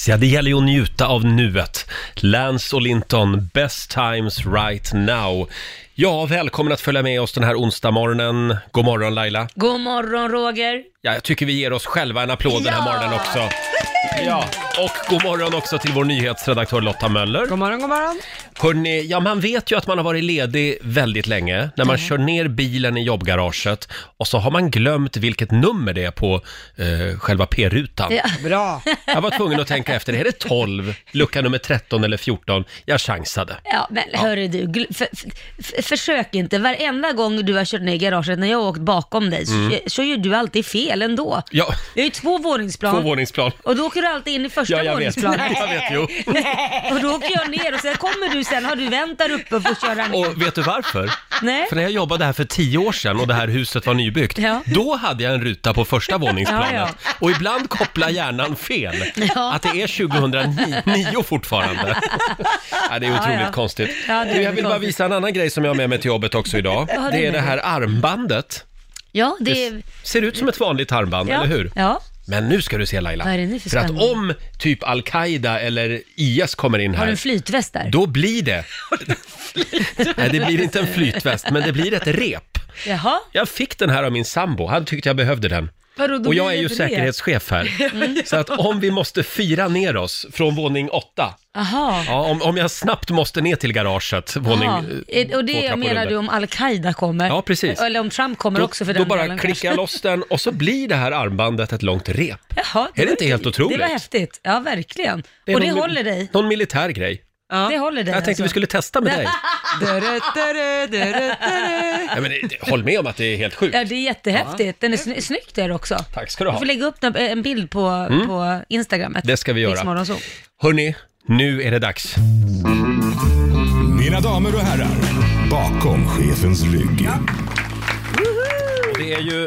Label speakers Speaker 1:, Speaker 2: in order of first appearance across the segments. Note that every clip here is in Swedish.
Speaker 1: Yes, ja det gäller ju att njuta av nuet. Lance och Linton, Best Times Right Now. Ja, välkommen att följa med oss den här onsdag morgonen. God morgon Laila.
Speaker 2: God morgon Roger.
Speaker 1: Ja, jag tycker vi ger oss själva en applåd den här
Speaker 2: Ja!
Speaker 1: morgonen också. Ja, och god morgon också till vår nyhetsredaktör Lotta Möller.
Speaker 3: God morgon, god morgon.
Speaker 1: Hörrni, ja man vet ju att man har varit ledig väldigt länge när man kör ner bilen i jobbgaraget och så har man glömt vilket nummer det är på eh, själva p-rutan.
Speaker 2: Ja.
Speaker 3: Bra.
Speaker 1: Jag var tvungen att tänka efter, är det 12, lucka nummer 13 eller 14? Jag chansade.
Speaker 2: Ja, men hörru du, gl- för, för, för, försök inte. Varenda gång du har kört ner i garaget när jag har åkt bakom dig så, så gör du alltid fel ändå.
Speaker 1: Mm. Ja,
Speaker 2: Jag är ju två våningsplan.
Speaker 1: två våningsplan.
Speaker 2: Och då åker du alltid in i första
Speaker 1: Ja, jag vet.
Speaker 2: våningsplanet.
Speaker 1: Jag vet, jo.
Speaker 2: Och då åker jag ner och sen kommer du sen, har du vänt där uppe och får köra ner.
Speaker 1: Och vet du varför?
Speaker 2: Nej.
Speaker 1: För när jag jobbade här för tio år sedan och det här huset var nybyggt,
Speaker 2: Ja.
Speaker 1: då hade jag en ruta på första våningsplanet.
Speaker 2: Ja,
Speaker 1: Och ibland kopplar hjärnan fel.
Speaker 2: Ja.
Speaker 1: Att det är 2009 fortfarande. ja, det är otroligt
Speaker 2: Ja, ja.
Speaker 1: konstigt.
Speaker 2: Ja, det är
Speaker 1: du, jag vill bara
Speaker 2: konstigt.
Speaker 1: visa en annan grej som jag har med mig till jobbet också idag.
Speaker 2: har
Speaker 1: Det
Speaker 2: du
Speaker 1: är
Speaker 2: med
Speaker 1: det
Speaker 2: dig?
Speaker 1: här armbandet.
Speaker 2: Ja, det
Speaker 1: Det
Speaker 2: är...
Speaker 1: ser ut som ett vanligt armband,
Speaker 2: Ja.
Speaker 1: eller hur?
Speaker 2: Ja.
Speaker 1: Men nu ska du se Laila.
Speaker 2: Vad är det nu för
Speaker 1: att
Speaker 2: spännande?
Speaker 1: om typ Al-Qaida eller IS kommer in
Speaker 2: Har du
Speaker 1: här,
Speaker 2: en flytväst där?
Speaker 1: då blir det... Nej, det blir inte en flytväst, men det blir ett rep.
Speaker 2: Jaha,
Speaker 1: Jag fick den här av min sambo, han tyckte jag behövde den.
Speaker 2: vadå, då
Speaker 1: Och
Speaker 2: blir
Speaker 1: jag är
Speaker 2: det
Speaker 1: ju
Speaker 2: Mm. inte
Speaker 1: säkerhetschef här. Så att om vi måste fira ner oss från våning åtta,
Speaker 2: det. Aha.
Speaker 1: ja, om, om jag snabbt måste ner till garaget, våning
Speaker 2: Aha.
Speaker 1: eh,
Speaker 2: Och
Speaker 1: två
Speaker 2: det
Speaker 1: trappor
Speaker 2: menar
Speaker 1: under.
Speaker 2: du om Al-Qaida kommer?
Speaker 1: Ja, precis.
Speaker 2: Eller om Trump kommer också för
Speaker 1: då,
Speaker 2: den
Speaker 1: då bara
Speaker 2: delen,
Speaker 1: klickar jag loss den och så blir det här armbandet ett långt rep.
Speaker 2: Jaha,
Speaker 1: Är det
Speaker 2: var
Speaker 1: inte helt otroligt?
Speaker 2: Det var häftigt. Ja, verkligen.
Speaker 1: är
Speaker 2: och det
Speaker 1: någon-
Speaker 2: håller dig.
Speaker 1: Någon militär grej.
Speaker 2: Det håller dig
Speaker 1: Jag tänkte vi
Speaker 2: alltså.
Speaker 1: skulle testa med dig.
Speaker 3: Dörre, dörre, dörre, dörre.
Speaker 1: Nej, men, det- det- håll med om att det är helt sjukt.
Speaker 2: Ja, det är jättehäftigt. Den är sny- snygg där också.
Speaker 1: Tack ska du
Speaker 2: Du
Speaker 1: ha.
Speaker 2: får lägga upp en- en bild på, på Instagram.
Speaker 1: Mm. Det ska vi göra.
Speaker 2: Riksmorgonzoo.
Speaker 1: Hörni, nu är det dags.
Speaker 4: Mina damer och herrar, bakom chefens rygg.
Speaker 1: Det är ju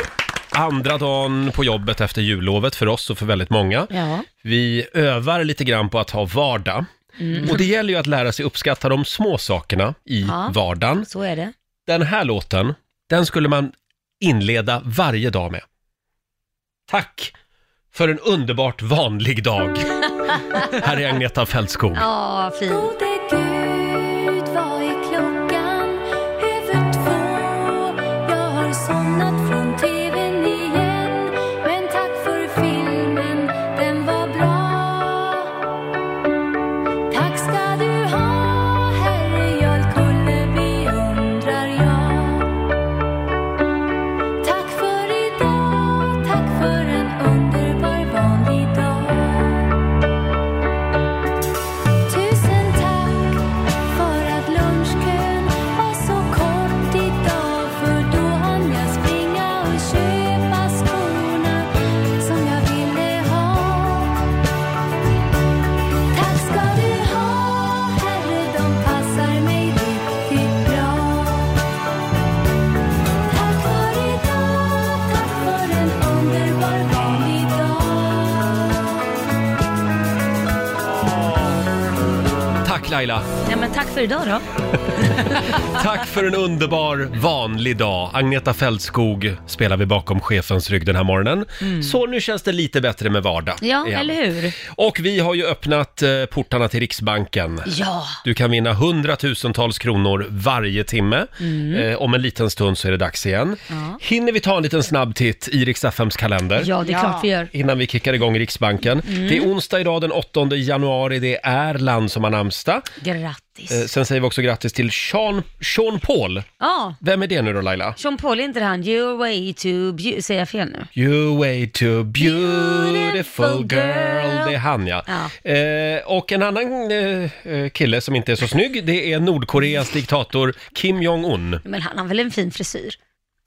Speaker 1: andra dagen på jobbet efter jullovet för oss och för väldigt många.
Speaker 2: Ja.
Speaker 1: Vi övar lite grann på att ha vardag. Och det gäller ju att lära sig uppskatta de små sakerna i
Speaker 2: Ja.
Speaker 1: vardagen.
Speaker 2: Så är det.
Speaker 1: Den här låten, den skulle man inleda varje dag med. Tack för en underbart vanlig dag. Här är Agneta Fältskog.
Speaker 2: Ja, fint.
Speaker 5: Gode Gud, vad är klockan? Över två. Jag har somnat från TVn igen. Men tack för filmen, den var bra. Tack ska du ha, Herre Jarlkulle, beundrar jag. Tack för idag, tack för en underbar vanlig dag. Tusen tack för att lunchkön var så kort idag För då hann jag springa och köpa skorna som jag ville ha Tack ska du ha, Herre, de passar mig riktigt bra Tack för idag, tack för en underbar vanlig dag
Speaker 1: Tack Laila!
Speaker 2: Ja, men tack för idag då.
Speaker 1: Tack för en underbar vanlig dag. Agneta Fältskog spelar vi bakom chefens rygg den här morgonen. Så nu känns det lite bättre med vardag.
Speaker 2: Mm. Ja,
Speaker 1: igen.
Speaker 2: eller hur?
Speaker 1: Och vi har ju öppnat eh, portarna till Riksbanken.
Speaker 2: Ja.
Speaker 1: Du kan vinna hundratusentals kronor varje timme.
Speaker 2: Mm.
Speaker 1: Eh, om en liten stund så är det dags igen. Hinner vi ta en liten snabb titt i Rix FMs kalender?
Speaker 2: Ja, Mm. det är
Speaker 3: Ja.
Speaker 2: klart vi gör.
Speaker 1: Innan vi kickar igång Riksbanken. Det är onsdag idag den 8 januari. Det är Erland som har namnsdag.
Speaker 2: Grattis.
Speaker 1: Eh, sen säger vi också grattis till Sean, Sean Paul.
Speaker 2: Ja,
Speaker 1: Vem är det nu då Laila?
Speaker 2: Sean Paul, är inte det han Your way to beau- Säger jag fel nu?
Speaker 1: You way to beautiful
Speaker 2: Beautiful
Speaker 1: girl.
Speaker 2: girl.
Speaker 1: Det är han ja.
Speaker 2: Ja.
Speaker 1: Eh, och en annan eh, eh, kille som inte är så snygg, det är Nordkoreas diktator Kim Jong-Un.
Speaker 2: Men han har väl en fin frisyr?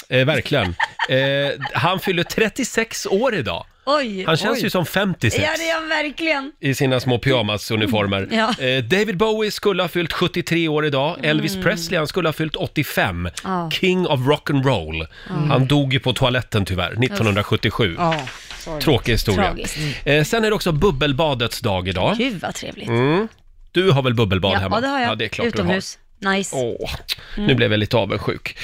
Speaker 1: Eh, verkligen. Eh, han fyller 36 år idag.
Speaker 2: Oj!
Speaker 1: Han känns
Speaker 2: oj.
Speaker 1: ju som 56
Speaker 2: Ja, det är han verkligen.
Speaker 1: i sina små pyjamasuniformer.
Speaker 2: Ja. Mm.
Speaker 1: Eh, David Bowie skulle ha fyllt 73 år idag. Elvis Presley, han skulle ha fyllt 85.
Speaker 2: Ja. Mm.
Speaker 1: King of rock'n'roll. Han dog ju på toaletten tyvärr, 1977.
Speaker 3: Ja.
Speaker 1: Tråkig historia.
Speaker 2: Tragiskt. Mm.
Speaker 1: Eh, sen är det också bubbelbadets dag idag.
Speaker 2: Gud vad trevligt.
Speaker 1: Mm. Du har väl bubbelbad
Speaker 2: Ja,
Speaker 1: hemma?
Speaker 2: det har jag.
Speaker 1: Ja, det är klart
Speaker 2: Utomhus. Mm.
Speaker 1: Du
Speaker 2: Nice.
Speaker 1: Åh, nu blev jag lite avundsjuk.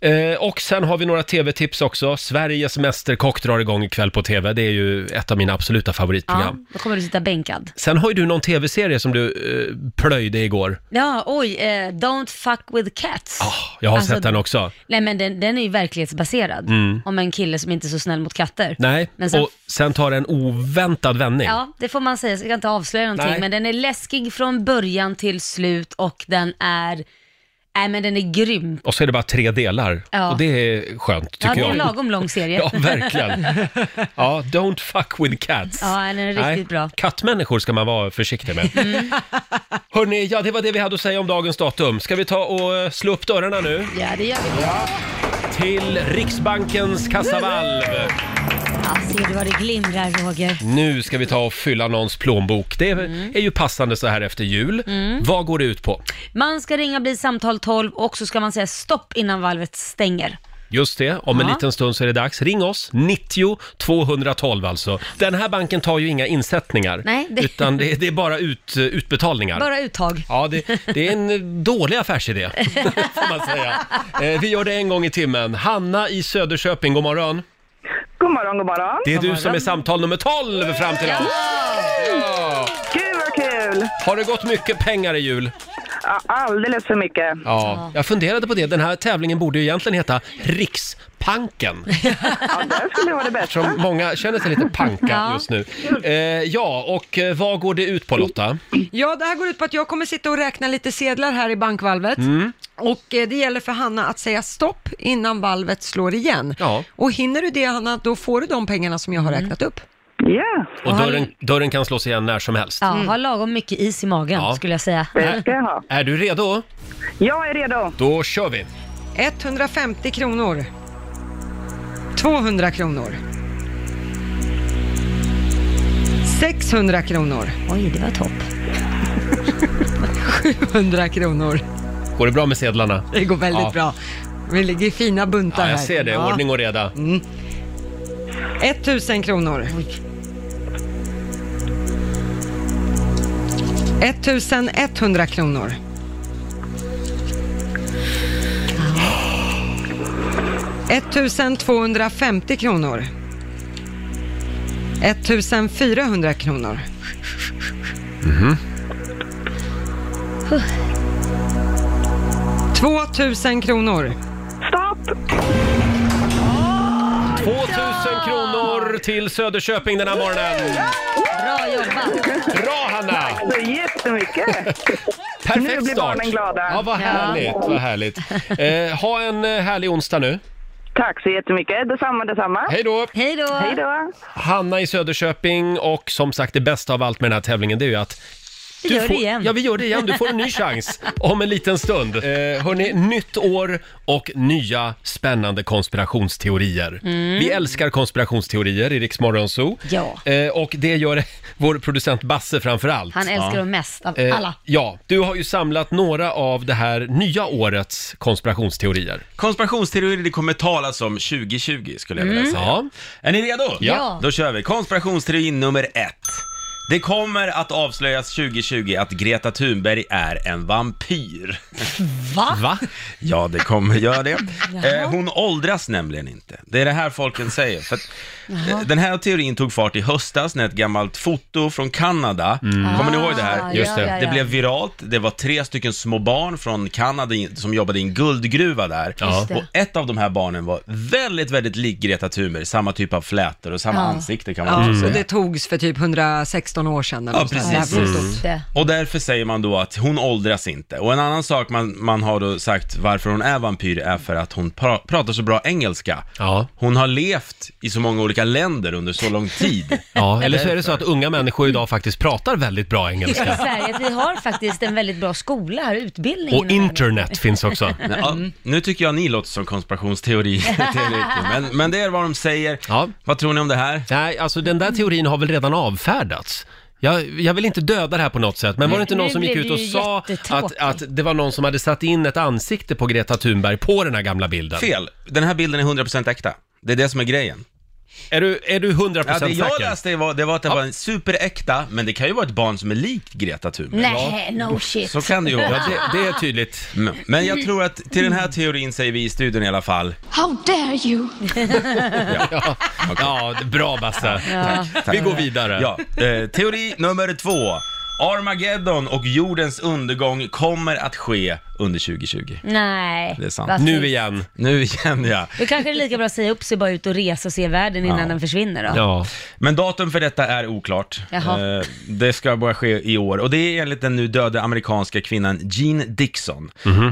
Speaker 2: Mm.
Speaker 1: Eh, och sen har vi några tv-tips också. Sveriges Mästerkock drar igång ikväll på tv. Det är ju ett av mina absoluta
Speaker 2: Ja,
Speaker 1: favoritprogram.
Speaker 2: då kommer du sitta bänkad.
Speaker 1: Sen har ju du någon tv-serie som du eh, plöjde igår.
Speaker 2: Ja, oj, eh, Don't fuck with cats.
Speaker 1: Ah, jag har
Speaker 2: Alltså,
Speaker 1: sett den också.
Speaker 2: Nej men den, den är ju verklighetsbaserad. Om en kille som inte är så snäll mot katter.
Speaker 1: Mm. Nej,
Speaker 2: men sen-
Speaker 1: och sen tar den oväntad vändning.
Speaker 2: Ja, det får man säga. så Jag kan inte avslöja någonting.
Speaker 1: Nej.
Speaker 2: Men den är läskig från början till slut och den är... Nej men den är grym.
Speaker 1: Och så är det bara tre delar.
Speaker 2: Ja.
Speaker 1: Och det är skönt, tycker
Speaker 2: Ja, det är
Speaker 1: jag.
Speaker 2: en lagom lång serie.
Speaker 1: Ja, verkligen. Ja, don't fuck with cats.
Speaker 2: Ja, den är riktigt bra. Mm.
Speaker 1: Kattmänniskor ska man vara försiktig med. Hörni, ja det var det vi hade att säga om dagens datum. Ska vi ta och eh, slå upp dörrarna nu
Speaker 2: Ja, det gör vi.
Speaker 1: till Riksbankens kassavalv?
Speaker 2: Ja, ser du vad det glimrar, Roger?
Speaker 1: Nu ska vi ta och fylla någons plånbok. Det är,
Speaker 2: Mm.
Speaker 1: är ju passande så här efter jul. Vad går det ut på?
Speaker 2: Man ska ringa bli samtal 12 och så ska man säga stopp innan valvet stänger.
Speaker 1: Just det, om en
Speaker 2: Ja.
Speaker 1: liten stund så är det dags. Ring oss, 90 212 alltså. Den här banken tar ju inga insättningar,
Speaker 2: Nej, det-
Speaker 1: utan det, det är bara ut, utbetalningar.
Speaker 2: Bara uttag.
Speaker 1: Ja, det, det är en dålig affärsidé, får man säga. Eh, vi gör det en gång i timmen. Hanna i Söderköping, god morgon.
Speaker 6: God morgon, god morgon.
Speaker 1: Det är du som är samtal nummer 12 fram till oss.
Speaker 6: Gud vad kul!
Speaker 1: Har det gått mycket pengar i jul?
Speaker 6: Ja, alldeles för mycket.
Speaker 1: Ja. Jag funderade på det, den här tävlingen borde ju egentligen heta Rikspanken.
Speaker 6: Ja, det skulle vara det bästa.
Speaker 1: Som många känner sig lite panka
Speaker 2: Ja.
Speaker 1: just nu. Eh, ja, och eh, vad går det ut på Lotta?
Speaker 3: Ja, det här går ut på att jag kommer sitta och räkna lite sedlar här i bankvalvet.
Speaker 1: Mm.
Speaker 3: Och eh, det gäller för Hanna att säga stopp innan valvet slår igen.
Speaker 1: Ja. Mm.
Speaker 3: Och hinner du det Hanna, då får du de pengarna som jag har räknat upp.
Speaker 6: Ja,
Speaker 1: Och
Speaker 2: har
Speaker 1: dörren, dörren kan slås igen när som helst.
Speaker 2: Ja, ha lagom mycket is i magen
Speaker 1: Mm. Ja.
Speaker 2: skulle jag säga.
Speaker 6: det ska jag ha.
Speaker 1: Är du redo?
Speaker 6: Jag är redo.
Speaker 1: Då kör vi!
Speaker 3: 150 kronor. 200 kronor. 600 kronor.
Speaker 2: Oj, det var topp.
Speaker 3: 100 kronor.
Speaker 1: Går det bra med sedlarna?
Speaker 3: Det går väldigt
Speaker 1: Ja.
Speaker 3: bra. Vi ligger i fina buntar
Speaker 1: Ja,
Speaker 3: här.
Speaker 1: jag ser det. Ordning och reda.
Speaker 3: 1000 kronor. 1100 kronor. Ettusen 250 kronor. 1400 kronor.
Speaker 7: Mhm.
Speaker 3: Två tusen kronor.
Speaker 6: Stopp!
Speaker 1: 2000 kronor till Söderköping den här morgonen.
Speaker 2: Bra jobbat.
Speaker 1: Bra Hanna!
Speaker 6: Så jättemycket. Nu
Speaker 1: Perfekt
Speaker 6: blir
Speaker 1: start.
Speaker 6: barnen glada.
Speaker 1: Ja, vad härligt. Vad härligt. Eh, ha en eh, härlig onsdag nu.
Speaker 6: Tack så jättemycket. Detsamma, detsamma.
Speaker 1: Hej då!
Speaker 2: Hej då.
Speaker 6: Hej då.
Speaker 1: Hanna i Söderköping och som sagt det bästa av allt med den här tävlingen det är ju att
Speaker 2: Vi
Speaker 1: Du
Speaker 2: gör det
Speaker 1: får,
Speaker 2: igen.
Speaker 1: Ja, vi gör det igen. Du får en ny chans om en liten stund. Eh, hörni, nytt år och nya spännande konspirationsteorier. Vi älskar konspirationsteorier i Rix Morgon Zoo.
Speaker 2: Mm. Ja.
Speaker 1: Eh, och det gör vår producent Basse framför allt.
Speaker 2: Han älskar dem mest av
Speaker 1: Eh,
Speaker 2: alla.
Speaker 1: Ja, du har ju samlat några av det här nya årets konspirationsteorier.
Speaker 7: Konspirationsteorier det kommer talas om 2020 skulle jag vilja säga.
Speaker 1: Mm. Ja.
Speaker 7: Är ni redo?
Speaker 2: Ja.
Speaker 7: Då kör vi. Konspirationsteori nummer ett. Det kommer att avslöjas 2020 att Greta Thunberg är en vampyr.
Speaker 2: Va?
Speaker 1: Va?
Speaker 7: Ja, det kommer göra det. Eh, hon åldras nämligen inte. Det är det här folken säger. För att, eh, den här teorin tog fart i höstas när ett gammalt foto från Kanada, kommer ni ihåg det här?
Speaker 2: Ah,
Speaker 1: Just det.
Speaker 2: Ja, ja,
Speaker 7: Det
Speaker 2: ja.
Speaker 7: blev viralt, det var tre stycken små barn från Kanada i- som jobbade i en guldgruva där.
Speaker 2: Just det.
Speaker 7: Och ett av de här barnen var väldigt, väldigt lik Greta Thunberg, samma typ av flätor och samma
Speaker 2: Ja.
Speaker 7: ansikte kan man
Speaker 3: Ja,
Speaker 7: också
Speaker 3: Så
Speaker 7: säga.
Speaker 3: det togs för typ 116 år sedan. eller
Speaker 7: Mm. Ja,
Speaker 3: något sånt
Speaker 7: precis.
Speaker 3: där. Det här fotot.
Speaker 2: Just det.
Speaker 7: Och därför säger man då att hon åldras inte. Och en annan sak man, man har då sagt varför hon är vampyr är för att hon pra- pratar så bra engelska.
Speaker 1: Ja.
Speaker 7: Hon har levt i så många olika länder under så lång tid.
Speaker 1: ja, eller så är det så att unga människor idag faktiskt pratar väldigt bra
Speaker 2: I
Speaker 1: engelska.
Speaker 2: Sverige, att vi har faktiskt en väldigt bra skola här, utbildning.
Speaker 1: Och
Speaker 2: inom det här.
Speaker 1: internet finns också.
Speaker 7: Men, ja, nu tycker jag ni låter som konspirationsteori. teoretiker. men, men det är vad de säger.
Speaker 1: Ja.
Speaker 7: Vad tror ni om det här?
Speaker 1: Nej, alltså den där teorin har väl redan avfärdats. Jag, jag vill inte döda det här på något sätt, men var det inte
Speaker 2: Nu
Speaker 1: någon som gick
Speaker 2: blev
Speaker 1: ut och
Speaker 2: det ju
Speaker 1: sa att,
Speaker 2: jättetråkigt.
Speaker 1: att det var någon som hade satt in ett ansikte på Greta Thunberg på den här gamla bilden?
Speaker 7: Fel. Den här bilden är 100% äkta. Det är det som är grejen.
Speaker 1: Är du, är du 100%
Speaker 7: Ja, det jag
Speaker 1: säker?
Speaker 7: läste var, det var att det var en superäkta, men det kan ju vara ett barn som är likt Greta Thunberg.
Speaker 2: Nej, no shit.
Speaker 7: Så kan det ju vara.
Speaker 1: Ja, det, det är tydligt.
Speaker 7: Mm. Men jag tror att till den här teorin säger vi i studion i alla fall.
Speaker 5: How dare you?
Speaker 1: Ja, det- bra Basse.
Speaker 7: Tack, tack.
Speaker 1: Vi går vidare.
Speaker 7: Ja, eh, teori nummer två. Armageddon och jordens undergång kommer att ske under 2020.
Speaker 2: Nej.
Speaker 7: Det är sant.
Speaker 2: Vad fint.
Speaker 1: Nu igen.
Speaker 7: Nu igen ja.
Speaker 2: Då kanske det är lika bra att säga upp sig bara ut och resa och se världen innan den försvinner då.
Speaker 1: Ja.
Speaker 7: Men datum för detta är oklart.
Speaker 2: Jaha.
Speaker 7: Eh, Det ska bara ske i år och det är enligt den nu döda amerikanska kvinnan Jean Dixon.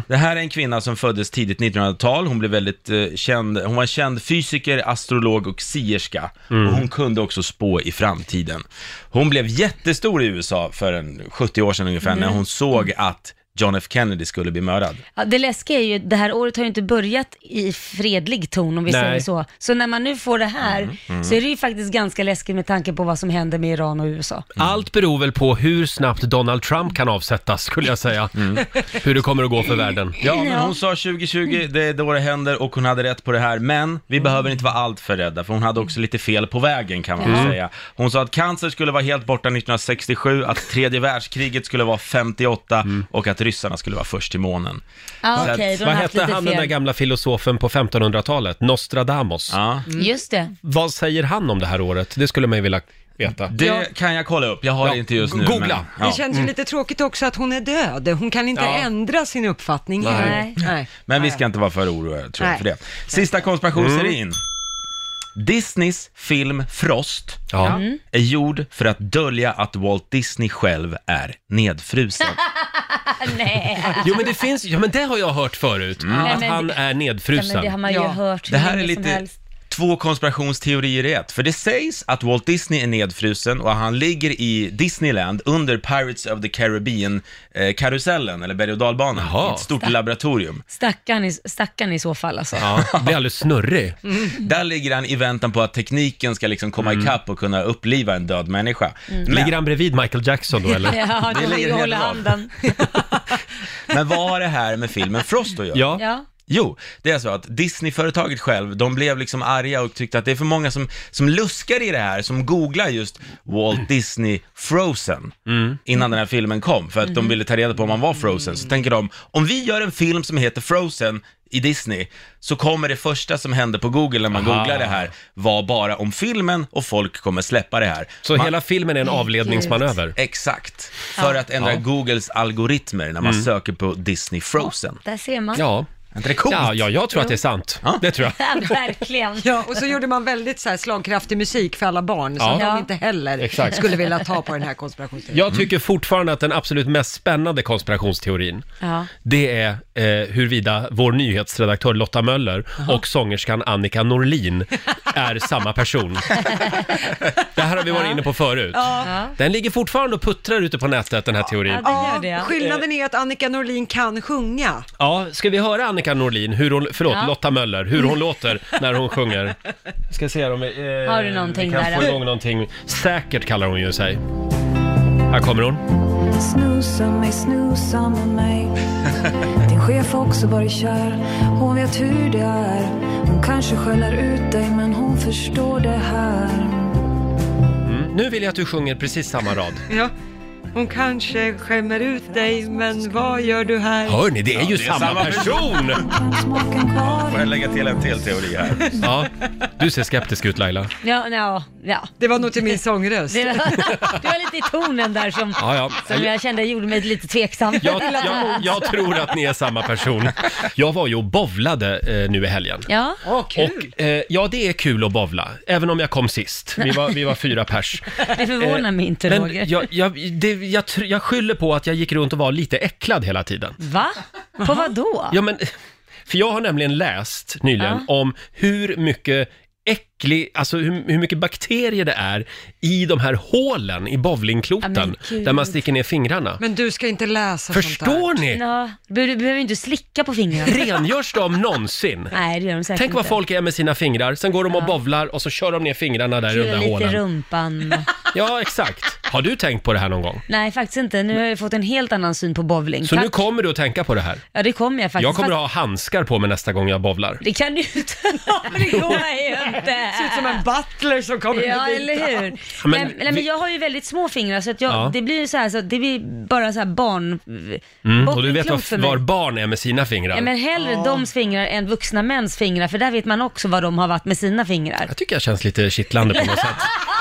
Speaker 7: Det här är en kvinna som föddes tidigt 1900-tal. Hon blev väldigt eh, känd. Hon var en känd fysiker, astrolog och sierska. Och hon kunde också spå i framtiden. Hon blev jättestor i USA för en 70 år sedan ungefär när hon såg att John F Kennedy skulle bli mördad.
Speaker 2: Ja, det läskiga är ju, det här året har ju inte börjat i fredlig ton om vi
Speaker 1: Nej.
Speaker 2: säger så. Så när man nu får det här så är det ju faktiskt ganska läskigt med tanke på vad som händer med Iran och USA.
Speaker 1: Allt beror väl på hur snabbt Donald Trump kan avsättas, skulle jag säga.
Speaker 7: Mm.
Speaker 1: Hur det kommer att gå för världen.
Speaker 7: Ja, men hon sa 2020, det är då det händer och hon hade rätt på det här. Men
Speaker 3: Mm.
Speaker 7: vi behöver inte vara allt för rädda, för hon hade också lite fel på vägen kan man väl säga. Hon sa att cancer skulle vara helt borta 1967, att tredje världskriget skulle vara 58
Speaker 3: Mm.
Speaker 7: och att ryssarna skulle vara först till månen.
Speaker 2: Ah,
Speaker 7: Så
Speaker 2: Okej,
Speaker 7: att-
Speaker 2: då har
Speaker 1: Vad
Speaker 2: de haft
Speaker 1: hette
Speaker 2: lite
Speaker 1: han, den där
Speaker 2: fel.
Speaker 1: gamla filosofen på 1500-talet? Nostradamus.
Speaker 7: Ja.
Speaker 2: Just det.
Speaker 1: Vad säger han om det här året? Det skulle man ju vilja veta.
Speaker 7: Det kan jag kolla upp, jag har
Speaker 1: Ja,
Speaker 7: det inte just nu.
Speaker 1: googla.
Speaker 3: Det
Speaker 7: Men, ja.
Speaker 3: känns ju lite tråkigt också att hon är död. Hon kan inte
Speaker 1: Mm. Ja.
Speaker 3: ändra sin uppfattning.
Speaker 1: Nej.
Speaker 3: Nej. Nej.
Speaker 7: men vi ska inte vara för oroliga tror jag,
Speaker 3: Nej. Mm.
Speaker 7: för det. Sista konspirationsteorin. Disneys film Frost
Speaker 1: Ja.
Speaker 2: Mm.
Speaker 7: är gjord för att dölja att Walt Disney själv är nedfrusen.
Speaker 2: Nej,
Speaker 1: Jo men det finns, ja men det har jag hört förut.
Speaker 7: Mm.
Speaker 2: Nej,
Speaker 1: Att
Speaker 2: men
Speaker 1: han
Speaker 2: det-
Speaker 1: är
Speaker 2: Nej, men det har
Speaker 1: nedfrusen.
Speaker 2: man ju
Speaker 3: Ja.
Speaker 2: hört hur
Speaker 7: Det här är
Speaker 2: länge som
Speaker 7: lite
Speaker 2: helst.
Speaker 7: två konspirationsteorier i ett. För det sägs att Walt Disney är nedfrusen och han ligger i Disneyland under Pirates of the Caribbean-karusellen, eller berg och dalbanan,
Speaker 1: Jaha.
Speaker 7: i ett stort laboratorium.
Speaker 2: Stackarn i, stackarn i så fall alltså.
Speaker 1: Ja, blir alldeles snurrig.
Speaker 2: Mm.
Speaker 7: Där ligger han i väntan på att tekniken ska liksom komma ikapp och kunna uppliva en död människa.
Speaker 1: Mm. Ligger
Speaker 7: Men,
Speaker 1: han bredvid Michael Jackson då eller?
Speaker 2: Ja,
Speaker 7: Det
Speaker 2: de
Speaker 7: ligger
Speaker 2: ligger
Speaker 7: helt
Speaker 2: hålla
Speaker 7: bra.
Speaker 2: handen.
Speaker 7: men vad har det här med filmen Frost att göra?
Speaker 1: Ja.
Speaker 2: Ja.
Speaker 7: Jo, det är så att Disney-företaget själv, de blev liksom arga och tyckte att det är för många som, som luskar i det här, som googlar just Walt Disney Frozen innan den här filmen kom, för att de ville ta reda på om han var Frozen. Så tänker de, om vi gör en film som heter Frozen i Disney, så kommer det första som händer på Google när man
Speaker 1: Aha.
Speaker 7: googlar det här vara bara om filmen och folk kommer släppa det här.
Speaker 1: Så
Speaker 7: man,
Speaker 1: hela filmen är en avledningsmanöver.
Speaker 7: Exakt, för att ändra Googles algoritmer när man söker på Disney Frozen.
Speaker 2: Där ser man.
Speaker 1: Ja.
Speaker 7: Är inte det coolt?
Speaker 1: Ja, ja, jag tror att det är sant.
Speaker 7: Ja.
Speaker 1: Det tror jag.
Speaker 2: Ja, verkligen.
Speaker 3: Ja, och så gjorde man väldigt så här slagkraftig musik för alla barn, så
Speaker 1: Ja.
Speaker 3: att
Speaker 2: Ja.
Speaker 3: de inte heller
Speaker 1: Exakt.
Speaker 3: skulle vilja ta på den här konspirationsteorin.
Speaker 7: Mm.
Speaker 1: Jag tycker fortfarande att den absolut mest spännande konspirationsteorin,
Speaker 2: Ja.
Speaker 1: det är eh, huruvida vår nyhetsredaktör Lotta Möller och sångerskan Annika Norlin är samma person. Det här har vi varit inne på förut.
Speaker 2: Ja.
Speaker 1: Den ligger fortfarande och puttrar ute på nätet, den här teorin.
Speaker 2: Ja, det gör det.
Speaker 3: Ja,
Speaker 2: ja.
Speaker 3: skillnaden är att Annika Norlin kan sjunga.
Speaker 1: Ja, ska vi höra Annika Norlin, hur hon, förlåt,
Speaker 2: Ja.
Speaker 1: Lotta Möller, hur hon låter när hon sjunger? Ska se om vi, eh,
Speaker 2: Har du
Speaker 1: vi
Speaker 2: någonting
Speaker 1: kan
Speaker 2: där,
Speaker 1: få
Speaker 2: då?
Speaker 1: igång någonting. Säkert kallar hon ju sig. Här kommer hon.
Speaker 8: Snusa mig, snusa med mig Din chef har också varit kär Hon vet hur det är Hon kanske skäller ut dig men hon förstår det här
Speaker 1: Nu vill jag att du sjunger precis samma rad.
Speaker 3: Ja. Hon kanske skämmer ut dig, men vad gör du här?
Speaker 1: Hör ni, det är ju
Speaker 7: det är
Speaker 1: samma,
Speaker 7: samma
Speaker 1: person!
Speaker 8: Kan smaken kvar
Speaker 7: Får jag lägga till en till teori här?
Speaker 1: ja, du ser skeptisk ut Laila.
Speaker 2: Ja, ja, ja.
Speaker 3: Det var nog till min sångröst.
Speaker 2: Det var, det var lite i tonen där som,
Speaker 1: Ja, ja.
Speaker 2: som jag kände gjorde mig lite tveksam.
Speaker 1: Jag, jag, jag tror att ni är samma person. Jag var ju och bowlade eh, nu i helgen.
Speaker 2: Ja,
Speaker 3: Åh, kul!
Speaker 1: Och, eh, ja, det är kul att bowla, även om jag kom sist. Vi var, vi var fyra pers.
Speaker 2: det förvånar mig inte
Speaker 1: Men
Speaker 2: Roger.
Speaker 1: jag, jag, det, jag, tr- jag skyller på att jag gick runt och var lite äcklad hela tiden.
Speaker 2: Va? På vad då?
Speaker 1: Ja, men, för jag har nämligen läst nyligen om hur mycket äcklig, alltså hur, hur mycket bakterier det är i de här hålen i
Speaker 2: Ja,
Speaker 1: bowlingkloten
Speaker 2: men gud.
Speaker 1: där man sticker ner fingrarna.
Speaker 3: Men du ska inte läsa sånt
Speaker 1: Förstår ni?
Speaker 2: Ja, du, du behöver ju inte slicka på fingrarna.
Speaker 1: Rengörs de någonsin?
Speaker 2: Nej, det gör de säkert
Speaker 1: Tänk vad
Speaker 2: inte.
Speaker 1: folk är med sina fingrar, sen går de och bowlar och så kör de ner fingrarna där i de
Speaker 2: Kula
Speaker 1: där
Speaker 2: lite
Speaker 1: hålen.
Speaker 2: rumpan.
Speaker 1: Ja, exakt. Har du tänkt på det här någon gång?
Speaker 2: Nej, faktiskt inte. Nu har jag fått en helt annan syn på bowling.
Speaker 1: Så
Speaker 2: Tack.
Speaker 1: nu kommer du att tänka på det här.
Speaker 2: Ja, det kommer jag faktiskt.
Speaker 1: Jag kommer
Speaker 2: Fast
Speaker 1: att ha handskar på mig nästa gång jag bovlar.
Speaker 2: Det kan du inte ha, det går ju inte.
Speaker 3: Ser ut som en butler som kommer
Speaker 2: Ja,
Speaker 3: hit.
Speaker 2: eller hur?
Speaker 1: Ja, men
Speaker 2: Men, nej,
Speaker 1: vi-
Speaker 2: men jag har ju väldigt små fingrar så att jag,
Speaker 1: Ja.
Speaker 2: det blir så här, så att det blir bara så här barn...
Speaker 1: Mm, och du
Speaker 2: bottenklump
Speaker 1: vet
Speaker 2: för
Speaker 1: vad,
Speaker 2: mig.
Speaker 1: var barn är med sina fingrar.
Speaker 2: Ja, men hellre doms fingrar än vuxna mäns fingrar, för där vet man också vad de har varit med sina fingrar.
Speaker 1: Jag tycker jag känns lite kittlande på något sätt.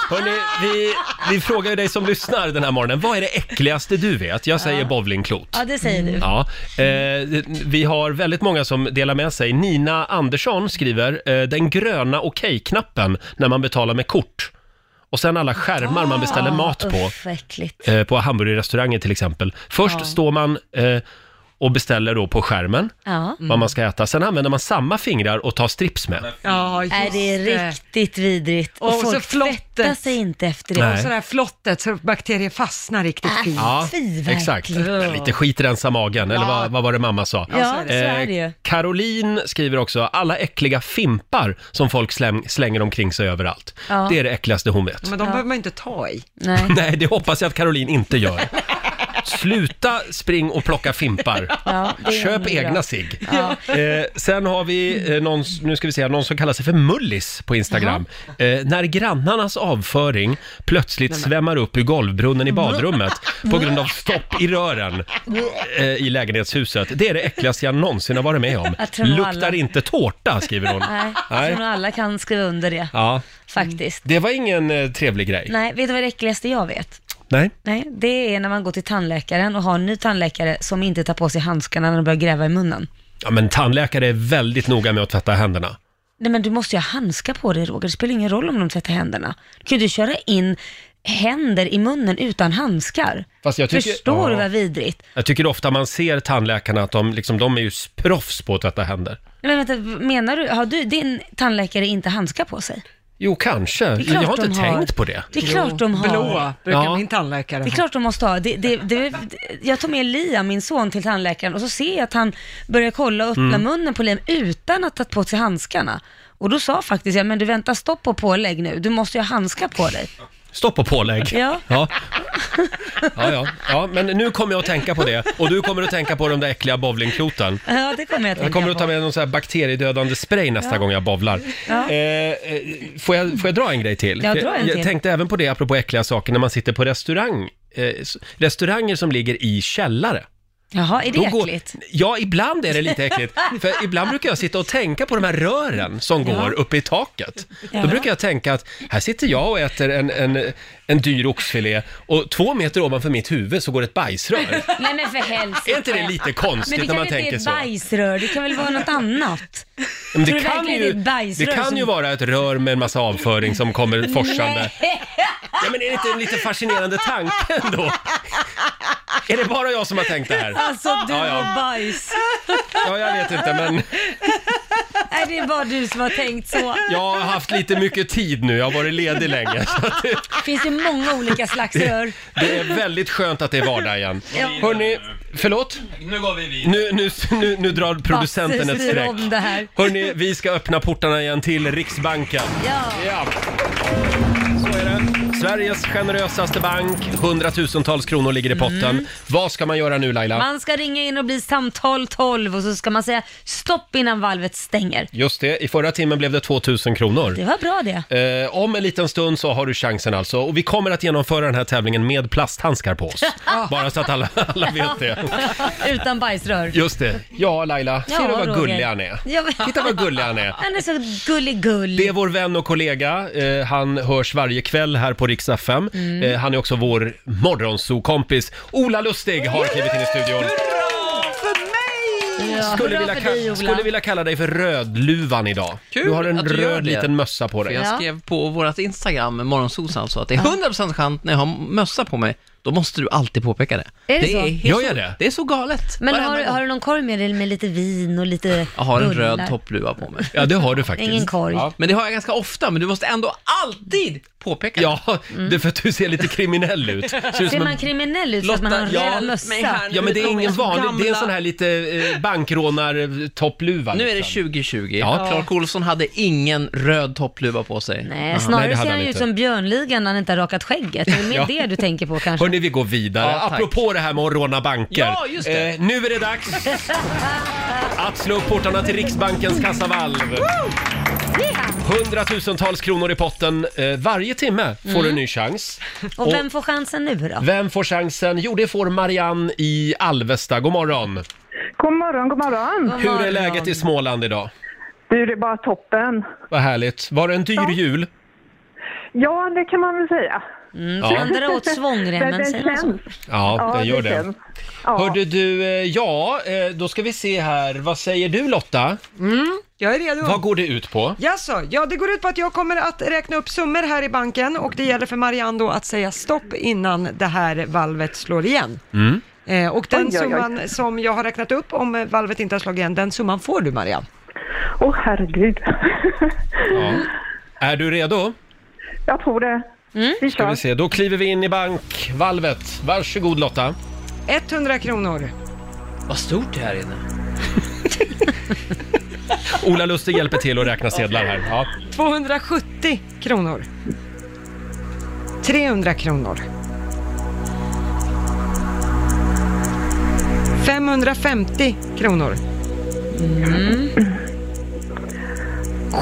Speaker 1: Hörrni, vi, vi frågar ju dig som lyssnar den här morgonen, vad är det äckligaste du vet? Jag säger bowlingklot.
Speaker 2: Ja, det säger du.
Speaker 1: Ja, eh, vi har väldigt många som delar med sig. Nina Andersson skriver, eh, den gröna okej-knappen när man betalar med kort. Och sen alla skärmar man beställer
Speaker 2: Ah.
Speaker 1: mat på,
Speaker 2: Usch, vad äckligt.
Speaker 1: eh, på hamburgerrestauranger till exempel. Först står man eh, och beställer då på skärmen
Speaker 2: Ja.
Speaker 1: vad man ska äta. Sen använder man samma fingrar och tar strips med.
Speaker 3: Ja, just
Speaker 2: Nej, det är riktigt vidrigt. Och,
Speaker 3: Och så
Speaker 2: folk
Speaker 3: flottet.
Speaker 2: tvättar sig inte efter det.
Speaker 1: Nej.
Speaker 3: Och sådär flottet så bakterier fastnar
Speaker 2: Ah.
Speaker 3: riktigt fint.
Speaker 1: Ja,
Speaker 2: Fy, verkligen.
Speaker 1: exakt. Lite skit rensa magen, eller vad, vad var det mamma sa?
Speaker 2: Ja, så är det
Speaker 1: Eh,
Speaker 2: ju.
Speaker 1: Caroline skriver också, alla äckliga fimpar som folk släng, slänger omkring sig överallt.
Speaker 2: Ja.
Speaker 1: Det är det äckligaste hon vet.
Speaker 3: Men de behöver man inte ta i.
Speaker 2: Nej.
Speaker 1: Nej, det hoppas jag att Caroline inte gör. Sluta spring och plocka fimpar.
Speaker 2: Ja, det är
Speaker 1: Köp
Speaker 2: nog
Speaker 1: egna
Speaker 2: bra.
Speaker 1: sig.
Speaker 2: Ja.
Speaker 1: Eh, sen har vi eh, någon, nu ska vi se, någon som kallar sig för Mullis på Instagram. Eh, när grannarnas avföring plötsligt svämmar upp ur golvbrunnen i
Speaker 2: Mm.
Speaker 1: badrummet på grund av stopp i rören eh, i lägenhetshuset. Det är det äckligaste jag någonsin har varit med om.
Speaker 2: Jag tror nog alla-
Speaker 1: Luktar inte tårta, skriver hon.
Speaker 2: Nej, jag
Speaker 1: Nej.
Speaker 2: tror nog alla kan skriva under det,
Speaker 1: Ja,
Speaker 2: faktiskt.
Speaker 1: det var ingen eh, trevlig grej.
Speaker 2: Nej, vet du vad det äckligaste jag vet?
Speaker 1: Nej.
Speaker 2: Nej, det är när man går till tandläkaren och har en ny tandläkare som inte tar på sig handskarna när de börjar gräva i munnen.
Speaker 1: Ja, men tandläkare är väldigt noga med att tvätta händerna.
Speaker 2: Nej men du måste ju ha handskar på dig Roger, det spelar ingen roll om de tvättar händerna. Du kan ju inte köra in händer i munnen utan handskar.
Speaker 1: Fast jag tycker-
Speaker 2: Förstår du
Speaker 1: Ja.
Speaker 2: vad vidrigt?
Speaker 1: Jag tycker ofta man ser tandläkarna att de, liksom, de är ju proffs på att tvätta händer.
Speaker 2: Nej, men vänta, menar du, har du, din tandläkare inte handskar på sig?
Speaker 1: Jo, kanske.
Speaker 2: Det är klart
Speaker 1: Jag har
Speaker 2: de
Speaker 1: inte
Speaker 2: har.
Speaker 1: tänkt på det.
Speaker 2: Det är klart de har.
Speaker 3: Blå brukar
Speaker 1: Ja.
Speaker 3: min tandläkare
Speaker 2: Det är
Speaker 3: ha.
Speaker 2: klart de måste ha. Det, det, det, jag tar med Liam, min son, till tandläkaren och så ser jag att han börjar kolla och öppna munnen på Liam utan att ha tagit på sig handskarna. Och då sa faktiskt jag, men du vänta stopp och pålägg nu, du måste ju ha handskar på dig.
Speaker 1: Stopp och pålägg.
Speaker 2: Ja.
Speaker 1: Ja. Ja, ja. ja, men nu kommer jag att tänka på det. Och du kommer att tänka på de där äckliga bowlingkloten.
Speaker 2: Ja, det kommer jag att tänka
Speaker 1: Jag kommer att ta
Speaker 2: på.
Speaker 1: med någon sån här bakteriedödande spray nästa gång jag bowlar.
Speaker 2: Ja.
Speaker 1: Eh, eh, får, jag, får jag dra en grej till?
Speaker 2: Ja, dra en
Speaker 1: jag
Speaker 2: till.
Speaker 1: tänkte även på det, apropå äckliga saker, när man sitter på restaurang. Eh, s- restauranger som ligger i källare.
Speaker 2: Jaha, är det
Speaker 1: Då går-
Speaker 2: äckligt?
Speaker 1: Ja, ibland är det lite äckligt. För ibland brukar jag sitta och tänka på de här rören som går uppe i taket. Då
Speaker 2: Ja.
Speaker 1: brukar jag tänka att här sitter jag och äter en, en, en dyr oxfilé och två meter ovanför mitt huvud så går ett bajsrör.
Speaker 2: Nej men för helsike.
Speaker 1: Är inte det lite
Speaker 2: Men det
Speaker 1: konstigt när
Speaker 2: kan
Speaker 1: man
Speaker 2: väl inte
Speaker 1: tänker
Speaker 2: ett
Speaker 1: så?
Speaker 2: bajsrör, det kan väl vara något annat?
Speaker 1: Men det
Speaker 2: Tror du
Speaker 1: kan,
Speaker 2: verkligen
Speaker 1: ju,
Speaker 2: det är ett bajsrör
Speaker 1: det kan ju
Speaker 2: som-
Speaker 1: vara ett rör med en massa avföring som kommer forsande. Ja, men är det inte en lite fascinerande tanke ändå? Är det bara jag som har tänkt det här?
Speaker 2: Alltså du
Speaker 1: Ja, ja.
Speaker 2: har bajs.
Speaker 1: Ja, jag vet inte, men...
Speaker 2: Nej, det är bara du som har tänkt så.
Speaker 1: Jag har haft lite mycket tid nu, jag har varit ledig länge. Så att det,
Speaker 2: Det finns ju många olika slags rör.
Speaker 1: det är väldigt skönt att det är vardag igen. Hörni, förlåt?
Speaker 7: Nu går vi vidare.
Speaker 1: Nu, nu, nu, nu drar producenten ett
Speaker 2: Basse, styr
Speaker 1: streck.
Speaker 2: om det här.
Speaker 1: Hörni, vi ska öppna portarna igen till Riksbanken.
Speaker 2: Ja.
Speaker 1: Ja. Så är det. Sveriges generösaste bank, hundratusentals kronor ligger i potten. Vad ska man göra nu Laila?
Speaker 2: Mm. Man ska ringa in och bli samtal 12 och så ska man säga stopp innan valvet stänger.
Speaker 1: Just det, i förra timmen blev det 2000 kronor.
Speaker 2: Det var bra det.
Speaker 1: Eh, om en liten stund så har du chansen alltså. Och vi kommer att genomföra den här tävlingen med plasthandskar på oss.
Speaker 2: Ah.
Speaker 1: Bara så att alla, alla vet det.
Speaker 2: Utan bajsrör.
Speaker 1: Just det. Ja, Laila. Ser
Speaker 2: Ja,
Speaker 1: du vad
Speaker 2: Roger.
Speaker 1: gullig han är?
Speaker 2: Ja, men-
Speaker 1: Titta vad gullig han är.
Speaker 2: Han är så gullig-gull.
Speaker 1: Det är vår vän och kollega. Eh, han hörs varje kväll här på Rix FM.
Speaker 2: Mm.
Speaker 1: Eh, han är också vår morgonsokompis. Ola Lustig har klivit in i studion.
Speaker 2: Ja,
Speaker 1: Skulle
Speaker 2: bra
Speaker 1: vilja,
Speaker 2: för
Speaker 1: ka-
Speaker 2: dig, Ola.
Speaker 1: skulle vilja kalla dig för Rödluvan idag.
Speaker 9: Kul
Speaker 1: du har en
Speaker 9: att du gör
Speaker 1: röd
Speaker 9: det.
Speaker 1: liten mössa på
Speaker 9: För
Speaker 1: dig.
Speaker 9: jag
Speaker 2: Ja.
Speaker 9: skrev på vårt Instagram, Morgonsos alltså, att det är 100% chans när jag har mössa på mig, då måste du alltid påpeka det.
Speaker 2: Är det så?
Speaker 9: helt
Speaker 1: Gör jag
Speaker 9: så-
Speaker 1: det?
Speaker 9: Det är så galet.
Speaker 2: Men
Speaker 9: Varenda
Speaker 2: har,
Speaker 9: gång.
Speaker 2: har du någon korg med dig med lite vin och lite
Speaker 9: Jag har en
Speaker 2: bullar?
Speaker 9: röd toppluva på mig.
Speaker 1: Ja, det har du faktiskt.
Speaker 2: Ingen korg.
Speaker 1: Ja.
Speaker 9: Men det har jag ganska ofta, men du måste ändå alltid påpeka det.
Speaker 1: Ja, det är för att du ser lite kriminell ut. Ser ut
Speaker 2: Ser
Speaker 1: som en
Speaker 2: man kriminell ut så att man har en
Speaker 9: Lotta,
Speaker 2: röd
Speaker 9: ja, mig
Speaker 2: mössa?
Speaker 9: här.
Speaker 1: Ja men det är ingen vanlig, det är en
Speaker 9: Gamla-
Speaker 1: sån här lite eh, bankrånar-toppluva.
Speaker 9: Nu är det
Speaker 1: liksom.
Speaker 9: 2020.
Speaker 1: Ja.
Speaker 9: Clark Olsson hade ingen röd toppluva på sig.
Speaker 2: Nej,
Speaker 1: Nej,
Speaker 2: snarare
Speaker 1: det hade
Speaker 2: ser
Speaker 1: han
Speaker 2: han ut
Speaker 1: inte.
Speaker 2: som Björnligan när han inte har rakat skägget. Det är mer
Speaker 1: Ja.
Speaker 2: det du tänker på kanske.
Speaker 1: Hörni, vi går vidare.
Speaker 9: Ja, tack.
Speaker 1: Apropå det här med att råna banker.
Speaker 9: Ja, just det.
Speaker 1: Eh, nu är det dags att slå upp portarna till Riksbankens kassavalv.
Speaker 2: Yeah.
Speaker 1: Hundratusentals kronor i potten. Eh, varje timme får
Speaker 9: Mm.
Speaker 1: du en ny chans.
Speaker 2: Och vem får chansen nu då?
Speaker 1: Vem får chansen? Jo, det får Marianne i Alvesta. God morgon!
Speaker 6: God morgon, god morgon.
Speaker 1: Hur är läget i Småland idag?
Speaker 6: Du, det är bara toppen.
Speaker 1: Vad härligt. Var det en dyr jul?
Speaker 6: Ja, det kan man väl säga.
Speaker 1: Ja,
Speaker 2: Andra åt svångremmen, säger man så?
Speaker 1: ja den gör det.
Speaker 6: känns. Ja.
Speaker 1: Hörde du, eh, ja, eh, då ska vi se här. Vad säger du Lotta?
Speaker 3: Jag är redo.
Speaker 1: Vad går det ut på?
Speaker 3: Jaså, ja det går ut på att jag kommer att räkna upp summor här i banken och det gäller för Marianne då att säga stopp innan det här valvet slår igen.
Speaker 1: Mm.
Speaker 3: Eh, och den
Speaker 6: Oj, oj, oj.
Speaker 3: summan som jag har räknat upp, om eh, valvet inte har slagit igen, den summan får du Marianne.
Speaker 6: Åh, herregud.
Speaker 1: Ja. Är du redo?
Speaker 6: Jag tror det. Vi
Speaker 1: Ska
Speaker 6: kör.
Speaker 1: vi se. Då kliver vi in i bankvalvet. Varsågod Lotta.
Speaker 3: 100 kronor.
Speaker 9: Vad stort det här inne.
Speaker 1: Ola Lustig hjälper till att räkna sedlar här. Ja.
Speaker 3: 270 kronor. 300 kronor. 550 kronor.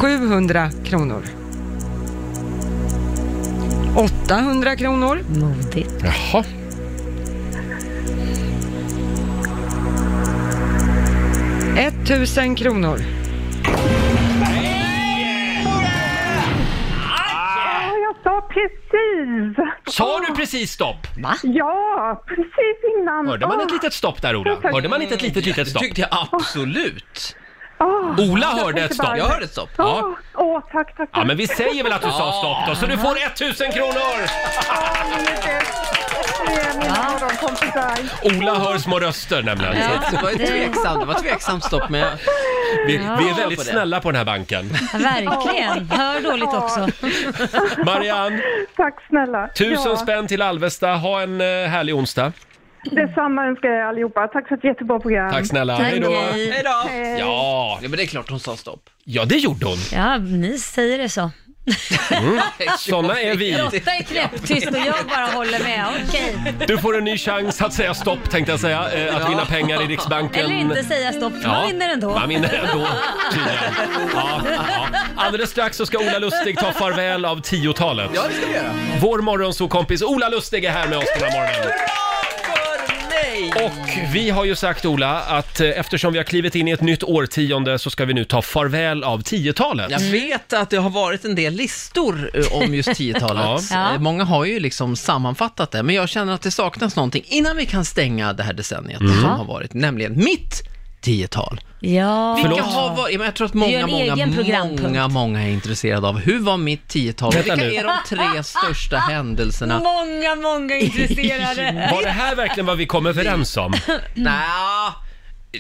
Speaker 3: 700 kronor. 800 kronor.
Speaker 2: Modigt.
Speaker 1: Jaha.
Speaker 3: 1000 kronor.
Speaker 6: Ja, jag sa precis.
Speaker 1: Sa du precis stopp?
Speaker 6: Ja, precis innan.
Speaker 1: Hörde man
Speaker 6: Åh,
Speaker 1: ett litet stopp där Ola? Hörde man inte ett litet, litet
Speaker 9: Det
Speaker 1: stopp?
Speaker 9: tyckte jag absolut.
Speaker 2: Ah.
Speaker 6: åh,
Speaker 1: Ola
Speaker 6: jag
Speaker 1: hörde
Speaker 6: tänkte
Speaker 1: ett stopp.
Speaker 6: bara-
Speaker 9: Jag hörde ett stopp.
Speaker 1: Ja.
Speaker 6: Åh, åh, tack, tack, tack.
Speaker 1: Ja, men vi säger väl att du sa stopp då, så du får 1000 kronor!
Speaker 2: Ah,
Speaker 6: Åh, ni är bäst. Ni är mina morgonkompisar.
Speaker 1: Ola hör små röster nämligen.
Speaker 9: Det var ett tveksamt, det var ett tveksamt stopp men jag...
Speaker 1: Vi, vi är väldigt
Speaker 9: på det.
Speaker 1: snälla på den här banken.
Speaker 2: Ja, Verkligen. Hör dåligt också.
Speaker 1: Marianne,
Speaker 6: Tack snälla.
Speaker 1: tusen
Speaker 6: ja,
Speaker 1: spänn till Alvesta. Ha en eh, härlig onsdag.
Speaker 6: Detsamma önskar jag er allihopa. Tack för ett jättebra program.
Speaker 1: Tack snälla. Hej då.
Speaker 2: Okej.
Speaker 9: Hej då!
Speaker 6: Hej.
Speaker 1: Ja,
Speaker 9: Ja men det är klart hon sa stopp.
Speaker 1: ja, det gjorde hon.
Speaker 2: Ja, ni säger det så.
Speaker 1: Såna är vi.
Speaker 2: Lotta är knäpptyst och jag bara håller med. Okej.
Speaker 1: Du får en ny chans att säga stopp tänkte jag säga, eh, att vinna pengar i Riksbanken.
Speaker 2: Eller inte säga stopp, för man vinner ändå.
Speaker 1: Man vinner ändå, tydligen. Ja, ja. Alldeles strax så ska Ola Lustig ta farväl av 10-talet.
Speaker 9: Ja det ska vi göra.
Speaker 1: Vår morgonsokompis Ola Lustig är här med oss den här morgonen.
Speaker 9: För mig!
Speaker 1: Och vi har ju sagt Ola att eh, eftersom vi har klivit in i ett nytt årtionde så ska vi nu ta farväl av 10-talet.
Speaker 9: Jag vet att det har varit en del listor eh, om just 10-talet.
Speaker 2: Ja.
Speaker 9: Eh, Många har ju liksom sammanfattat det, men jag känner att det saknas någonting innan vi kan stänga det här decenniet som har varit, nämligen mitt 10-tal.
Speaker 2: Ja.
Speaker 9: Vilka har varit, men jag tror att
Speaker 2: gör
Speaker 9: många,
Speaker 2: en
Speaker 9: många,
Speaker 2: egen programpunkt.
Speaker 9: många, många är intresserade av hur var mitt 10-tal?
Speaker 1: Vänta
Speaker 9: Vilka
Speaker 1: nu.
Speaker 9: är de tre största händelserna?
Speaker 2: Mm. Många, många intresserade.
Speaker 1: Var det här verkligen vad vi kom överens om?
Speaker 9: Nja,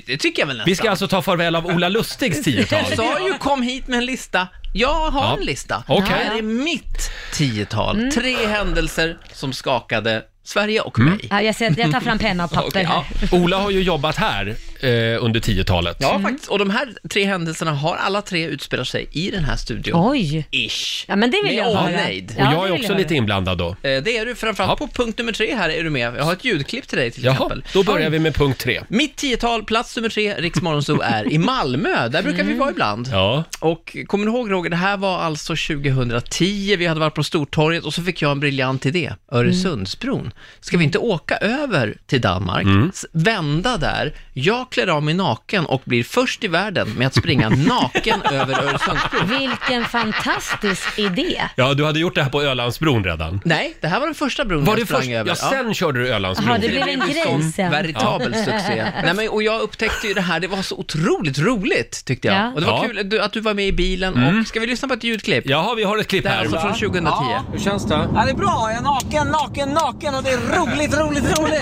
Speaker 9: det tycker jag väl nästan.
Speaker 1: Vi ska alltså ta farväl av Ola Lustigs 10-tal.
Speaker 9: Jag sa ju kom hit med en lista. Jag har
Speaker 1: Ja.
Speaker 9: en lista.
Speaker 1: Okej.
Speaker 9: Det här är mitt tiotal.
Speaker 2: Mm.
Speaker 9: Tre händelser som skakade Sverige och
Speaker 1: Mm.
Speaker 9: mig.
Speaker 2: Ja, jag, ser, jag tar fram penna och papper
Speaker 9: Okej, ja.
Speaker 2: här.
Speaker 1: Ola har ju jobbat här eh, under 10-talet.
Speaker 9: Ja,
Speaker 2: Mm.
Speaker 9: faktiskt. Och de här tre händelserna har alla tre utspelat sig i den här studion.
Speaker 2: Oj.
Speaker 9: Ish.
Speaker 2: Ja, men det vill
Speaker 9: Med
Speaker 2: jag höra.
Speaker 9: omnejd.
Speaker 1: Och
Speaker 2: Ja,
Speaker 1: jag
Speaker 2: det
Speaker 1: är
Speaker 2: vill
Speaker 1: också
Speaker 2: höra.
Speaker 1: lite inblandad då.
Speaker 9: Eh, Det är du framförallt på punkt nummer tre här är du med. Jag har ett ljudklipp till dig till
Speaker 1: Jaha,
Speaker 9: exempel.
Speaker 1: då börjar vi med punkt tre.
Speaker 9: Mitt tiotal, plats nummer tre, Riksmorgonzoo är i Malmö. Där brukar
Speaker 2: Mm.
Speaker 9: vi vara ibland.
Speaker 1: Ja,
Speaker 9: Och kommer du ihåg Roger, det här var alltså 2010, vi hade varit på Stortorget och så fick jag en briljant idé, Öresundsbron. Ska
Speaker 1: Mm.
Speaker 9: vi inte åka över till Danmark, s- vända där, jag klär av mig naken och blir först i världen med att springa naken över Öresundsbron.
Speaker 2: Vilken fantastisk idé.
Speaker 1: ja du hade gjort det här på Ölandsbron redan.
Speaker 9: Nej, det här var den första bron
Speaker 1: Var
Speaker 9: jag
Speaker 1: det
Speaker 9: sprang
Speaker 1: först?
Speaker 9: över.
Speaker 1: Ja, sen körde du Ölandsbron.
Speaker 2: Jaha, det blev en
Speaker 9: ju
Speaker 2: grej
Speaker 9: sån
Speaker 2: sen.
Speaker 9: Veritabel succé. Nej, men, och jag upptäckte ju det här, det var så otroligt roligt tyckte jag.
Speaker 2: Ja.
Speaker 9: Och det var
Speaker 1: Ja. Mm.
Speaker 9: kul att du- att du var med i bilen och, ska vi lyssna på ett ljudklipp?
Speaker 1: Jaha, vi har ett klipp
Speaker 9: Det här är
Speaker 1: här.
Speaker 9: alltså från 2010.
Speaker 1: Hur känns det?
Speaker 10: Ja, det är bra. Jag är naken, naken, naken och det är roligt, roligt, roligt.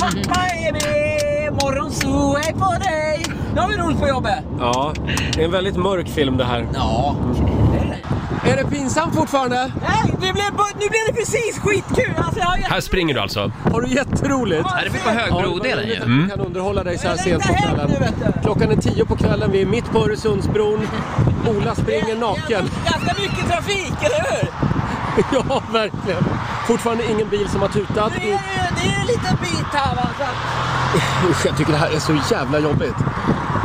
Speaker 10: Hoppa är det, morgonzoo, hej på dig. Nu har vi roligt på jobbet.
Speaker 1: Ja, det är en väldigt mörk film det här.
Speaker 10: Ja.
Speaker 9: Är det pinsamt fortfarande?
Speaker 10: Nej, det blev, bu- nu blev det precis skitkul. Alltså, jag har jätte-
Speaker 1: Här springer du alltså.
Speaker 9: Har du jätteroligt?
Speaker 10: Ja,
Speaker 9: Det fick vara högbrodelen ju.
Speaker 1: Mm.
Speaker 9: kan underhålla dig
Speaker 10: Jag längtar hem nu, vet du.
Speaker 9: Klockan är tio på kvällen, vi är mitt på Öresundsbron. Ola springer
Speaker 10: Ganska mycket trafik, eller hur?
Speaker 9: ja, verkligen. Fortfarande ingen bil som har tutat.
Speaker 10: Det är ju, det är ju en liten bit här va. Så att-
Speaker 9: Usch, jag tycker det här är så jävla jobbigt.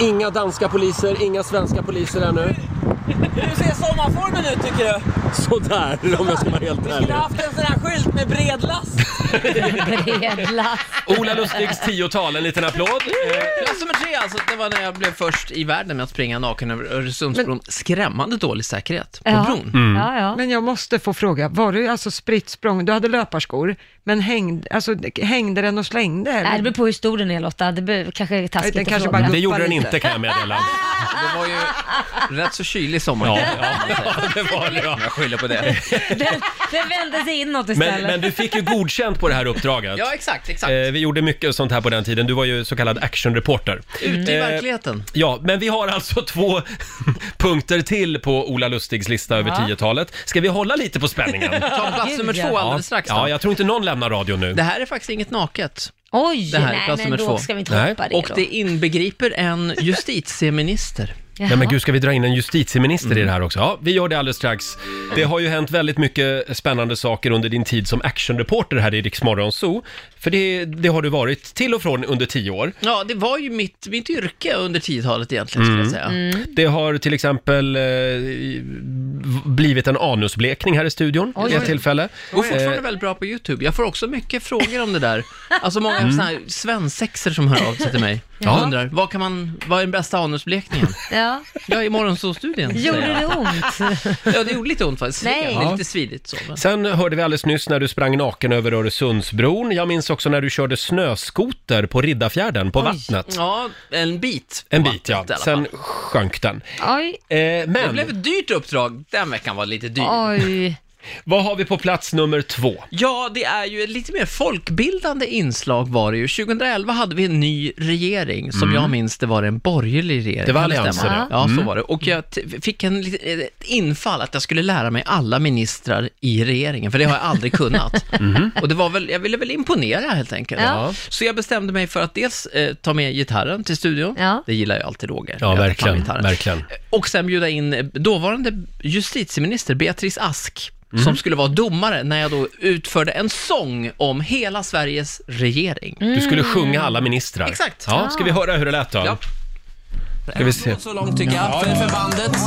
Speaker 9: Inga danska poliser, inga svenska poliser ännu.
Speaker 10: Du ser sommarformen ut tycker du?
Speaker 11: Sådär, om jag ska vara helt
Speaker 10: Vi skulle
Speaker 11: ärlig.
Speaker 10: haft en sån här skylt med bredlast.
Speaker 2: bredlast.
Speaker 1: Ola Lustigs tiotal, en liten applåd.
Speaker 9: Plats nummer tre, alltså, det var när jag blev först i världen med att springa naken över Öresundsbron. Skrämmande dålig säkerhet på bron.
Speaker 2: Mm.
Speaker 3: Men jag måste få fråga, var du alltså spritt språng, du hade löparskor, men hängde, alltså, hängde den och slängde? Eller?
Speaker 2: Nej, det beror på hur stor den är Lotta. Det be- kanske är taskigt
Speaker 3: Den
Speaker 2: att
Speaker 3: kanske
Speaker 2: fråga.
Speaker 3: bara guppar lite.
Speaker 9: Det var ju rätt så kylig sommar.
Speaker 1: Ja, det var det. Jag
Speaker 9: skyller på det.
Speaker 2: Den, den vände sig inåt istället.
Speaker 1: Men, men du fick ju godkänt på det här uppdraget.
Speaker 9: Ja, exakt, exakt.
Speaker 1: Eh, vi gjorde mycket sånt här på den tiden. Du var ju så kallad actionreporter.
Speaker 9: Ute i
Speaker 1: Eh,
Speaker 9: verkligheten.
Speaker 1: Ja, men vi har alltså två punkter till på Ola Lustigs lista över
Speaker 9: Ja.
Speaker 1: 10-talet. Ska vi hålla lite på spänningen?
Speaker 9: Ta plats nummer två alldeles strax då.
Speaker 1: Ja, jag tror inte någon lämnar radion nu.
Speaker 9: Det här är faktiskt inget naket.
Speaker 2: Oj,
Speaker 9: det här
Speaker 2: nej,
Speaker 9: är plats
Speaker 2: men
Speaker 9: nummer
Speaker 2: då
Speaker 9: två.
Speaker 2: ska vi inte hoppa Nej. det
Speaker 9: Och
Speaker 2: då.
Speaker 9: det inbegriper en justitieminister.
Speaker 1: Nej men gud, ska vi dra in en justitieminister i det här också? Ja, vi gör det alldeles strax. Det har ju hänt väldigt mycket spännande saker under din tid som actionreporter här i Rix Morgon Zoo. För det, det har du varit till och från under tio år.
Speaker 9: Ja, det var ju mitt, mitt yrke under 10-talet egentligen, skulle jag
Speaker 1: Mm.
Speaker 9: säga.
Speaker 1: Det har till exempel eh, blivit en anusblekning här i studion
Speaker 9: Oj,
Speaker 1: vid ett
Speaker 9: oj.
Speaker 1: tillfälle.
Speaker 9: Går fortfarande
Speaker 1: Eh,
Speaker 9: väldigt bra på YouTube. Jag får också mycket frågor om det där. Alltså många mm. sådana här svensexer som hör av sig till mig.
Speaker 2: Ja.
Speaker 9: Jag undrar, vad, kan man, vad är den bästa anusblekningen?
Speaker 2: Ja.
Speaker 9: Ja, i morgonsåsstudien.
Speaker 2: Gjorde det ont?
Speaker 9: Ja, det gjorde lite ont faktiskt.
Speaker 2: Nej.
Speaker 9: Det är lite svidigt så. Men.
Speaker 1: Sen hörde vi alldeles nyss när du sprang naken över Öresundsbron. Jag minns också när du körde snöskoter på Riddarfjärden, på vattnet.
Speaker 9: Ja, en bit.
Speaker 1: En bit ja,
Speaker 9: i alla
Speaker 1: sen sjönk den.
Speaker 2: Oj.
Speaker 1: Eh, men...
Speaker 9: Det blev ett dyrt uppdrag. Den veckan var lite dyr.
Speaker 2: Oj.
Speaker 1: Vad har vi på plats nummer två?
Speaker 9: Ja, det är ju ett lite mer folkbildande inslag var det ju. 2011 hade vi en ny regering, som
Speaker 1: Mm.
Speaker 9: jag minns det var det en borgerlig regering.
Speaker 1: Det var
Speaker 9: Kan
Speaker 1: alliansen,
Speaker 9: stämma?
Speaker 1: ja.
Speaker 9: Ja, så
Speaker 1: Mm.
Speaker 9: var det. Och jag t- fick en, lit- ett infall att jag skulle lära mig alla ministrar i regeringen, för det har jag aldrig kunnat. Och det var väl, jag ville väl imponera helt enkelt.
Speaker 1: Mhm. Ja.
Speaker 9: Så jag bestämde mig för att dels eh, ta med gitarren till studion, det gillar ju alltid Roger.
Speaker 1: Ja,
Speaker 9: Jag tar fram
Speaker 1: verkligen,
Speaker 9: gitarren.
Speaker 1: verkligen.
Speaker 9: Och sen bjuda in eh, dåvarande justitieminister Beatrice Ask,
Speaker 1: Mm.
Speaker 9: som skulle vara domare när jag då utförde en sång om hela Sveriges regering.
Speaker 1: Du skulle sjunga alla ministrar.
Speaker 9: Mm. Exakt.
Speaker 1: Ja, ska vi höra hur det lät då?
Speaker 9: Ja.
Speaker 1: Ska vi se.
Speaker 10: Så långt tycker jag, för, för bandet.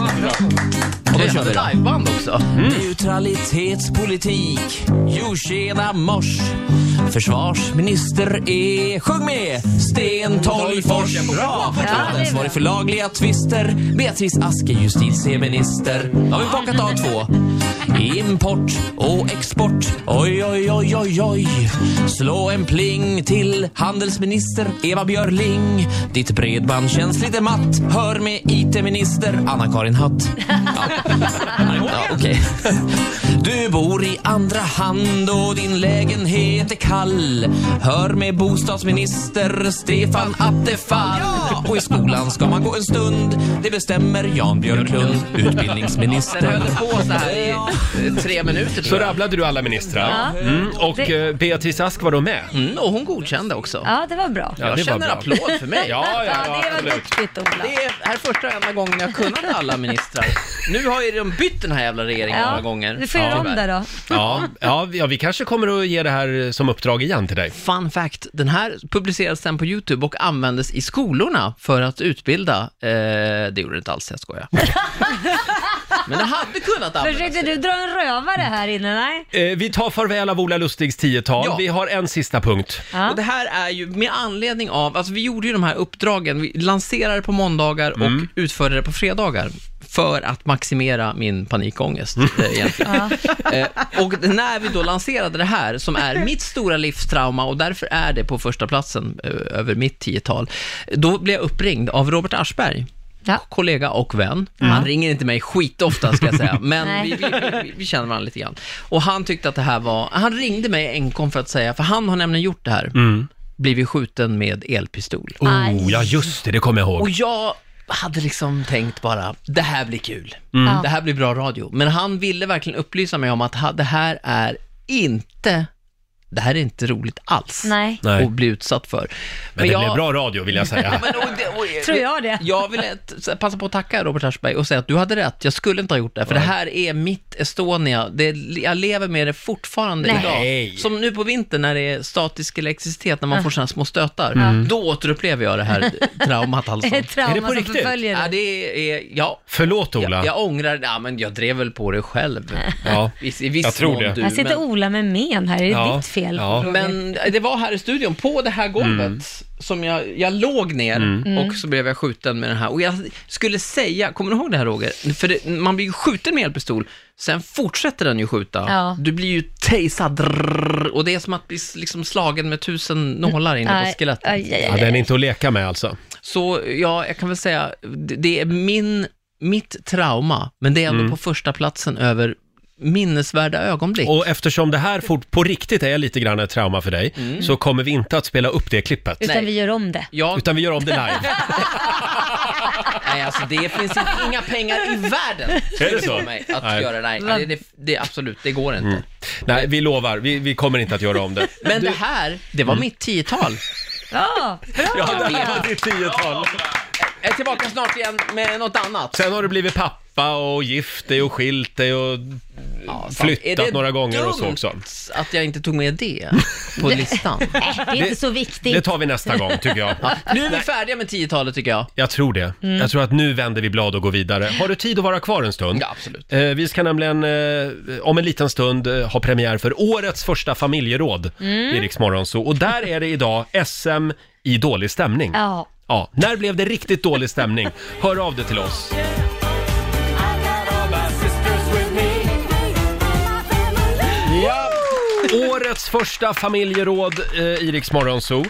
Speaker 10: Och
Speaker 9: då Mm. kör vi då. liveband också.
Speaker 10: Neutralitetspolitik. Jo, tjena mors. Försvarsminister är... Sjung med! Sten Tolgfors. Bra! Ansvarig för lagliga tvister. Beatrice Ask är justitieminister. Då har vi bockat av två. Import och export. Oj, oj, oj, oj, oj. Slå en pling till handelsminister Eva Björling. Ditt bredband känns lite matt. Hör med IT-minister Anna-Karin Hatt. Ja, okej. Du bor i andra hand och din lägenhet är kall. Hör med bostadsminister Stefan Attefall. Och i skolan ska man gå en stund. Det bestämmer Jan Björklund,
Speaker 9: Den
Speaker 10: utbildningsminister.
Speaker 9: höll på så här i eh, tre minuter
Speaker 1: Så
Speaker 9: tror jag.
Speaker 1: rabblade du alla ministrar.
Speaker 2: Ja.
Speaker 1: Mm. Och
Speaker 2: Det-
Speaker 1: eh, Beatrice Ask var då med.
Speaker 9: Mm, och hon godkände också.
Speaker 2: Ja, det var bra.
Speaker 1: Ja,
Speaker 9: jag
Speaker 1: det var
Speaker 9: känner
Speaker 1: bra.
Speaker 9: applåd för mig.
Speaker 1: Ja, ja,
Speaker 2: det
Speaker 1: ja,
Speaker 2: var
Speaker 1: absolut.
Speaker 2: duktigt Ola.
Speaker 9: Det är här första och enda gången jag kunnat alla ministrar. Nu har ju de bytt den här jävla regeringen
Speaker 2: Ja,
Speaker 9: några gånger.
Speaker 2: Du får göra om det då.
Speaker 1: Ja, ja, vi- ja, vi kanske kommer att ge det här eh, som uppdrag igen till dig.
Speaker 9: Fun fact, den här publicerades sen på YouTube och användes i skolorna för att utbilda. Eh, det gjorde det inte alls, jag skojar. Men det hade kunnat användas.
Speaker 2: Försökte du dra en rövare här inne? Nej.
Speaker 1: Eh, vi tar farväl av Ola Lustigs tiotal.
Speaker 9: Ja.
Speaker 1: Vi har en sista punkt.
Speaker 2: Ja.
Speaker 9: Och det här är ju med anledning av, alltså vi gjorde ju de här uppdragen, vi lanserade på måndagar och utförde det på fredagar för att maximera min panikångest eh, egentligen. Eh, och när vi då lanserade det här, som är mitt stora livstrauma och därför är det på första platsen eh, över mitt tiotal, då blev jag uppringd av Robert Aschberg.
Speaker 2: Ja.
Speaker 9: kollega och vän. Han ringer inte mig skitofta ska jag säga, men
Speaker 2: Nej.
Speaker 9: vi, vi, vi, vi känner varandra lite grann. Och han tyckte att det här var, han ringde mig enkom för att säga, för han har nämligen gjort det här,
Speaker 1: Mm.
Speaker 9: blivit skjuten med elpistol.
Speaker 1: Oh, ja just det, det kommer jag
Speaker 9: Och
Speaker 1: ihåg.
Speaker 9: jag hade liksom tänkt bara, det här blir kul.
Speaker 1: Mm.
Speaker 2: Ja.
Speaker 9: Det här blir bra radio. Men han ville verkligen upplysa mig om att ha- det här är inte det här är inte roligt alls
Speaker 2: Nej.
Speaker 1: Nej.
Speaker 9: att bli utsatt för. Men,
Speaker 1: det blev bra radio, vill jag säga.
Speaker 9: Men, och det, och,
Speaker 2: Tror jag det.
Speaker 9: Jag vill ett- passa på att tacka Robert Aschberg och säga att du hade rätt, jag skulle inte ha gjort det, här, för det här är mitt Estonia. Det, jag lever med det fortfarande
Speaker 10: Nej.
Speaker 9: idag. Som nu på vintern när det är statisk elektricitet, när man
Speaker 10: Ja.
Speaker 9: får sådana små stötar.
Speaker 1: Mm.
Speaker 9: Då återupplever jag det här traumat alltså.
Speaker 10: Ett trauma Är det på som riktigt? förföljer dig.
Speaker 9: Ja, det är, ja.
Speaker 1: Förlåt
Speaker 9: Ola. Jag, jag ångrar, ja men jag drev väl på det själv.
Speaker 1: Ja.
Speaker 9: I, i viss
Speaker 1: Jag tror
Speaker 9: mån
Speaker 1: det.
Speaker 9: Du,
Speaker 2: Här sitter
Speaker 9: men-
Speaker 2: Ola med men här, är det
Speaker 9: Ja,
Speaker 2: ditt fel?
Speaker 9: ja.
Speaker 2: Roger?
Speaker 9: Men det var här i studion, på det här golvet,
Speaker 1: Mm.
Speaker 9: som jag, jag låg ner
Speaker 1: Mm.
Speaker 9: och så blev jag skjuten med den här. Och jag skulle säga, kommer du ihåg det här Roger? För det, man blir ju skjuten med elpistol, sen fortsätter den ju skjuta.
Speaker 2: Ja.
Speaker 9: Du blir ju tasad drrrr, och det är som att bli liksom slagen med tusen nålar inne
Speaker 2: Aj,
Speaker 9: på skelettet.
Speaker 2: aj, aj, aj.
Speaker 1: Ja, den är inte att leka med alltså.
Speaker 9: Så ja, jag kan väl säga, det det är min, mitt trauma, men det är ändå
Speaker 1: Mm.
Speaker 9: på första platsen över minnesvärda ögonblick.
Speaker 1: Och eftersom det här fort, på riktigt är lite grann ett trauma för dig,
Speaker 9: Mm.
Speaker 1: så kommer vi inte att spela upp det klippet.
Speaker 2: Utan vi gör om det.
Speaker 1: Utan vi gör om det live.
Speaker 9: Nej, alltså det finns inte- inga pengar i världen
Speaker 1: Är det så?
Speaker 9: för mig att
Speaker 1: Nej.
Speaker 9: göra nej.
Speaker 1: Va?
Speaker 9: Det, det, det, absolut, det går inte.
Speaker 1: Mm. Nej, vi lovar. Vi, vi kommer inte att göra om det.
Speaker 9: Men det här, det var
Speaker 1: Mm.
Speaker 9: mitt tiotal.
Speaker 2: Ja, bra!
Speaker 1: Ja, det här var ditt tiotal.
Speaker 9: Jag är tillbaka snart igen med något annat.
Speaker 1: Sen har du blivit pappa och gift dig och skilt dig och
Speaker 9: Är
Speaker 1: flyttat
Speaker 9: det
Speaker 1: några gånger och så
Speaker 9: dumt
Speaker 1: också.
Speaker 9: Att jag inte tog med det på listan.
Speaker 2: Nej, det är inte så viktigt.
Speaker 1: Det tar vi nästa gång, tycker jag.
Speaker 9: Ja, nu är vi färdiga med tiotalet tycker jag.
Speaker 1: Jag tror det.
Speaker 9: Mm.
Speaker 1: Jag tror att nu vänder vi blad och går vidare. Har du tid att vara kvar en stund? Ja,
Speaker 9: absolut.
Speaker 1: Eh, vi ska nämligen eh, om en liten stund eh, ha premiär för årets första familjeråd
Speaker 2: Mm.
Speaker 1: i Rix Morgon Zoo. Och där är det idag SM i dålig stämning.
Speaker 2: Ja.
Speaker 1: Ja, när blev det riktigt dålig stämning? Hör av dig till oss. Ja. Årets första familjeråd eh, i Rix Morgon Zoo.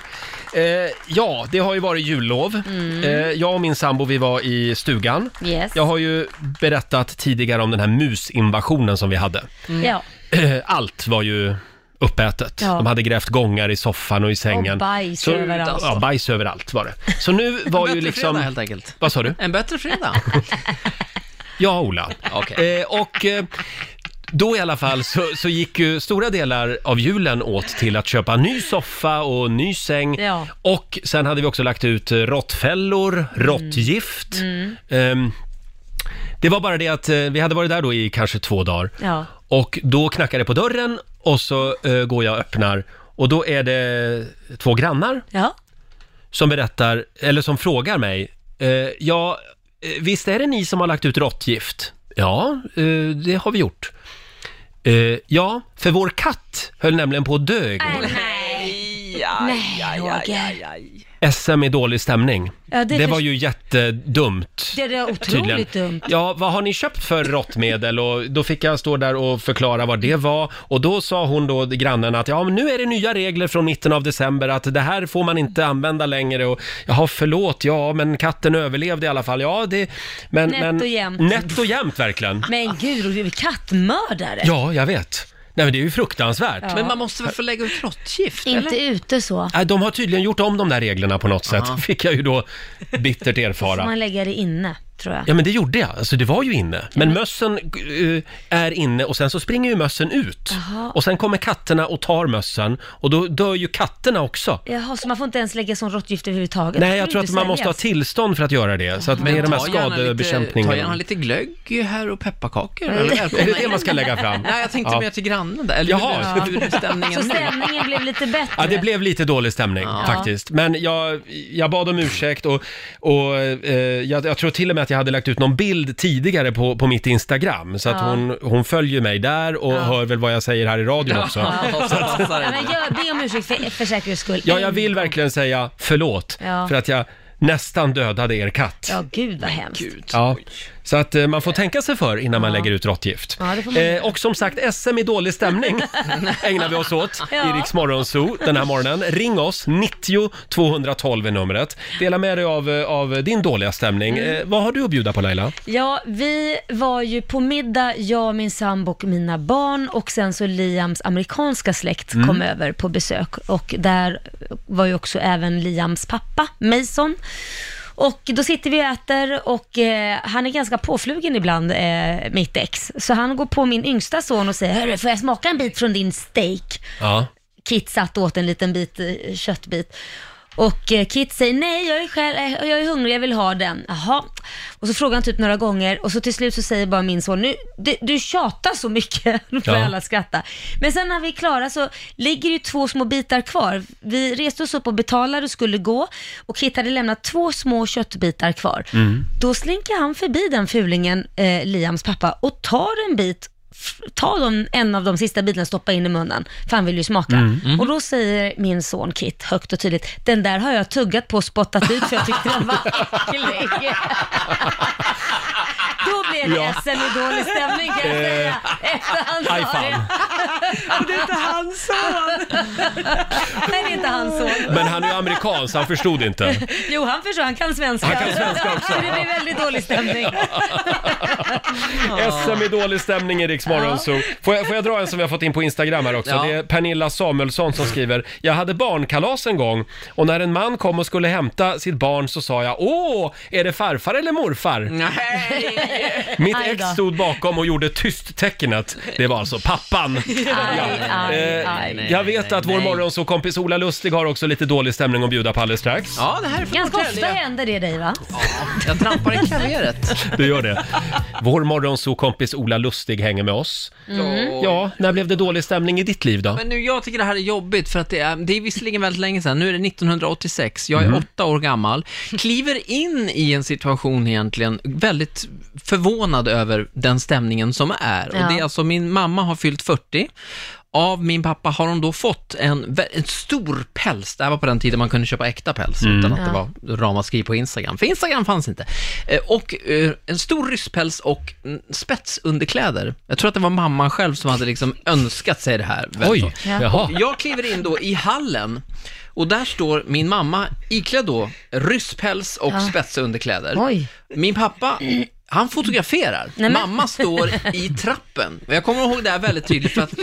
Speaker 1: Eh, ja, det har ju varit jullov.
Speaker 2: Mm.
Speaker 1: Eh, jag och min sambo, vi var i stugan.
Speaker 2: Yes.
Speaker 1: Jag har ju berättat tidigare om den här musinvasionen som vi hade.
Speaker 2: Ja.
Speaker 1: Eh, Allt var ju uppätet.
Speaker 2: Ja.
Speaker 1: De hade grävt gångar i soffan och i sängen.
Speaker 2: Och bajs
Speaker 1: Så-
Speaker 2: överallt.
Speaker 1: Ja, bajs överallt var det. Så nu var ju
Speaker 9: Bättre
Speaker 1: liksom...
Speaker 9: fredag, helt enkelt.
Speaker 1: Vad sa du?
Speaker 9: En bättre fredag.
Speaker 1: Ja, Ola. Eh, och eh, då i alla fall så, så gick ju stora delar av julen åt till att köpa ny soffa och ny säng.
Speaker 2: Ja.
Speaker 1: Och sen hade vi också lagt ut eh, råttfällor, råttgift.
Speaker 2: Mm.
Speaker 1: Ehm, det var bara det att eh, vi hade varit där då i kanske två dagar.
Speaker 2: Ja.
Speaker 1: Och då knackar det på dörren och så eh, går jag och öppnar. Och då är det två grannar
Speaker 2: Ja.
Speaker 1: som berättar, eller som frågar mig, eh, ja, eh, visst är det ni som har lagt ut råttgift? Ja, eh, det har vi gjort. Eh, ja, för vår katt höll nämligen på att dö igår.
Speaker 9: Nej,
Speaker 2: Nej, Roger.
Speaker 1: SM i dålig stämning.
Speaker 2: Ja, det
Speaker 1: det
Speaker 2: först-
Speaker 1: var ju jättedumt.
Speaker 2: Det är otroligt dumt.
Speaker 1: Ja, vad har ni köpt för råttmedel? Och då fick jag stå där och förklara vad det var. Och då sa hon då, grannen, att ja, men nu är det nya regler från mitten av december att det här får man inte använda längre. Och jaha, förlåt, ja, men katten överlevde i alla fall. Ja, det... Men,
Speaker 2: Nätt
Speaker 1: men,
Speaker 2: och jämnt.
Speaker 1: Nätt och jämnt, verkligen.
Speaker 2: Men gud, Roger, vi är kattmördare.
Speaker 1: Ja, jag vet. Nej, men det är ju fruktansvärt.
Speaker 2: Ja.
Speaker 9: Men man måste väl få lägga ut råttgift?
Speaker 2: Inte
Speaker 9: eller?
Speaker 2: ute så.
Speaker 1: Nej, Äh, de har tydligen gjort om de där reglerna på något sätt, fick jag ju då bittert
Speaker 2: Får
Speaker 1: erfara.
Speaker 2: man lägga det inne, tror jag.
Speaker 1: Ja men det gjorde jag, alltså det var ju inne. Men mössen eh, är inne och sen så springer ju mössen ut.
Speaker 2: Jaha.
Speaker 1: Och sen kommer katterna och tar mössen och då dör ju katterna också.
Speaker 2: Jaha, så man får inte ens lägga sån råttgift överhuvudtaget?
Speaker 1: Nej,
Speaker 2: Det
Speaker 1: jag
Speaker 2: får
Speaker 1: tror
Speaker 2: inte
Speaker 1: att man måste ha
Speaker 2: säljas.
Speaker 1: tillstånd för att göra det. Så att det är de här
Speaker 9: ta gärna lite- Ta gärna
Speaker 1: skadebekämpningarna.
Speaker 9: lite glögg här och pepparkakor.
Speaker 2: Mm.
Speaker 1: Nej.
Speaker 9: eller
Speaker 1: Är
Speaker 9: välkomna
Speaker 1: det det man ska
Speaker 9: in.
Speaker 1: lägga fram?
Speaker 9: Nej, jag tänkte
Speaker 1: Ja.
Speaker 9: mer till grannen där. Eller
Speaker 1: Jaha.
Speaker 9: hur, hur är stämningen
Speaker 2: Så
Speaker 9: nu?
Speaker 2: Alltså, stämningen blev lite bättre?
Speaker 1: Ja, det blev lite dålig stämning faktiskt. Men jag, jag bad om ursäkt och, och eh, jag, jag tror till och med att jag hade lagt ut någon bild tidigare på, på mitt Instagram. Så att
Speaker 2: Ja.
Speaker 1: hon, hon följer mig där och hör väl vad jag säger här i radion också.
Speaker 2: Ja.
Speaker 1: Så att,
Speaker 2: Ja, men gör, be om ursäkt för, för säkerhets skull.
Speaker 1: Ja, jag vill verkligen säga förlåt
Speaker 2: Ja.
Speaker 1: för att jag nästan dödade er katt.
Speaker 2: Ja, gud vad hemskt.
Speaker 1: Ja. Så att eh, man får tänka sig för innan man lägger ut råttgift.
Speaker 2: Ja, det får man
Speaker 1: Eh, och som sagt, SM i dålig stämning ägnar vi oss åt
Speaker 2: Ja.
Speaker 1: i Riks Morgonzoo den här morgonen. Ring oss, 90 212 är numret. Dela med dig av, eh, av din dåliga stämning.
Speaker 2: Mm.
Speaker 1: Eh, vad har du att bjuda på Laila?
Speaker 2: Ja, vi var ju på middag, jag, min sambo och mina barn och sen så Liams amerikanska släkt
Speaker 12: Mm.
Speaker 2: kom över på besök och där var ju också även Liams pappa, Mason. Och då sitter vi och äter och eh, han är ganska påflugen ibland, eh, mitt ex. Så han går på min yngsta son och säger, hörru, får jag smaka en bit från din steak?
Speaker 1: Ja.
Speaker 2: Kit satt och åt en liten bit eh, köttbit. Och eh, Kit säger nej, jag är, själv, eh, jag är hungrig, jag vill ha den. Jaha. Och så frågar han typ några gånger och så till slut så säger bara min son, nu, du, du tjatar så mycket. Då får
Speaker 5: Ja.
Speaker 2: alla skratta. Men sen när vi är klara så ligger det ju två små bitar kvar. Vi reste oss upp och betalade och skulle gå och Kit hade lämnat två små köttbitar kvar.
Speaker 5: Mm.
Speaker 2: Då slinker han förbi den fulingen, eh, Liams pappa, och tar en bit, f- tar de, en av de sista bitarna och stoppar in i munnen, för han vill ju smaka.
Speaker 5: Mm, mhm.
Speaker 2: Och då säger min son Kit högt och tydligt, den där har jag tuggat på och spottat ut för jag tyckte den var äcklig. Då blev det
Speaker 5: Ja.
Speaker 2: ledsen och dålig stämning kan jag
Speaker 5: Eh,
Speaker 2: säga. Efter han
Speaker 5: aj
Speaker 2: sa det.
Speaker 5: Och det är inte hans son.
Speaker 2: Nej, det är inte hans son.
Speaker 1: Men han är ju amerikan så han förstod inte.
Speaker 2: Jo, han förstår, han kan svenska.
Speaker 1: Han kan svenska också.
Speaker 2: Så det blir väldigt dålig stämning.
Speaker 1: SM i dålig stämning i Riks Morgonzoo. Får jag, får jag dra en som vi har fått in på Instagram här också?
Speaker 9: Ja.
Speaker 1: Det är Pernilla Samuelsson som skriver. Jag hade barnkalas en gång och när en man kom och skulle hämta sitt barn så sa jag Åh, är det farfar eller morfar?
Speaker 9: Mm.
Speaker 1: Mitt
Speaker 5: Aj
Speaker 1: ex
Speaker 5: då.
Speaker 1: stod bakom och gjorde tysttecknet. Det var alltså pappan.
Speaker 5: aj,
Speaker 1: Eh,
Speaker 5: aj.
Speaker 1: jag vet att vår morgonsåkompis Ola Lustig har också lite dålig stämning att bjuda på alldeles strax.
Speaker 9: Ja, det här är för
Speaker 2: Ganska
Speaker 9: hotell,
Speaker 2: ofta
Speaker 9: det-
Speaker 2: händer det dig va?
Speaker 9: Jag trampar i klaveret.
Speaker 1: Du gör det. Vår morgonsåkompis Ola Lustig hänger med oss.
Speaker 9: Mm.
Speaker 1: Ja, när blev det dålig stämning i ditt liv då?
Speaker 9: Men nu, jag tycker det här är jobbigt för att det är, det är visserligen väldigt länge sedan, nu är det 1986, jag är
Speaker 1: Mhm.
Speaker 9: åtta år gammal, kliver in i en situation egentligen väldigt förvånad över den stämningen som är.
Speaker 10: Ja.
Speaker 9: Och det är alltså, min mamma har fyllt 40, av min pappa har hon då fått en, vä- en stor päls. Det här var på den tiden man kunde köpa äkta päls
Speaker 10: Mm.
Speaker 9: utan att det
Speaker 10: Ja.
Speaker 9: var ramaskri på Instagram, för Instagram fanns inte. Eh, Och eh, en stor rysspäls och mm, spetsunderkläder. Jag tror att det var mamman själv som hade liksom önskat sig det här.
Speaker 10: Oj,
Speaker 9: Och
Speaker 10: jaha.
Speaker 9: Jag kliver in då i hallen och där står min mamma iklädd då rysspäls och
Speaker 10: Ja.
Speaker 9: spetsunderkläder.
Speaker 10: Oj.
Speaker 9: Min pappa, han fotograferar.
Speaker 10: men.
Speaker 9: Mamma står i trappen. Och Jag kommer ihåg det här väldigt tydligt för att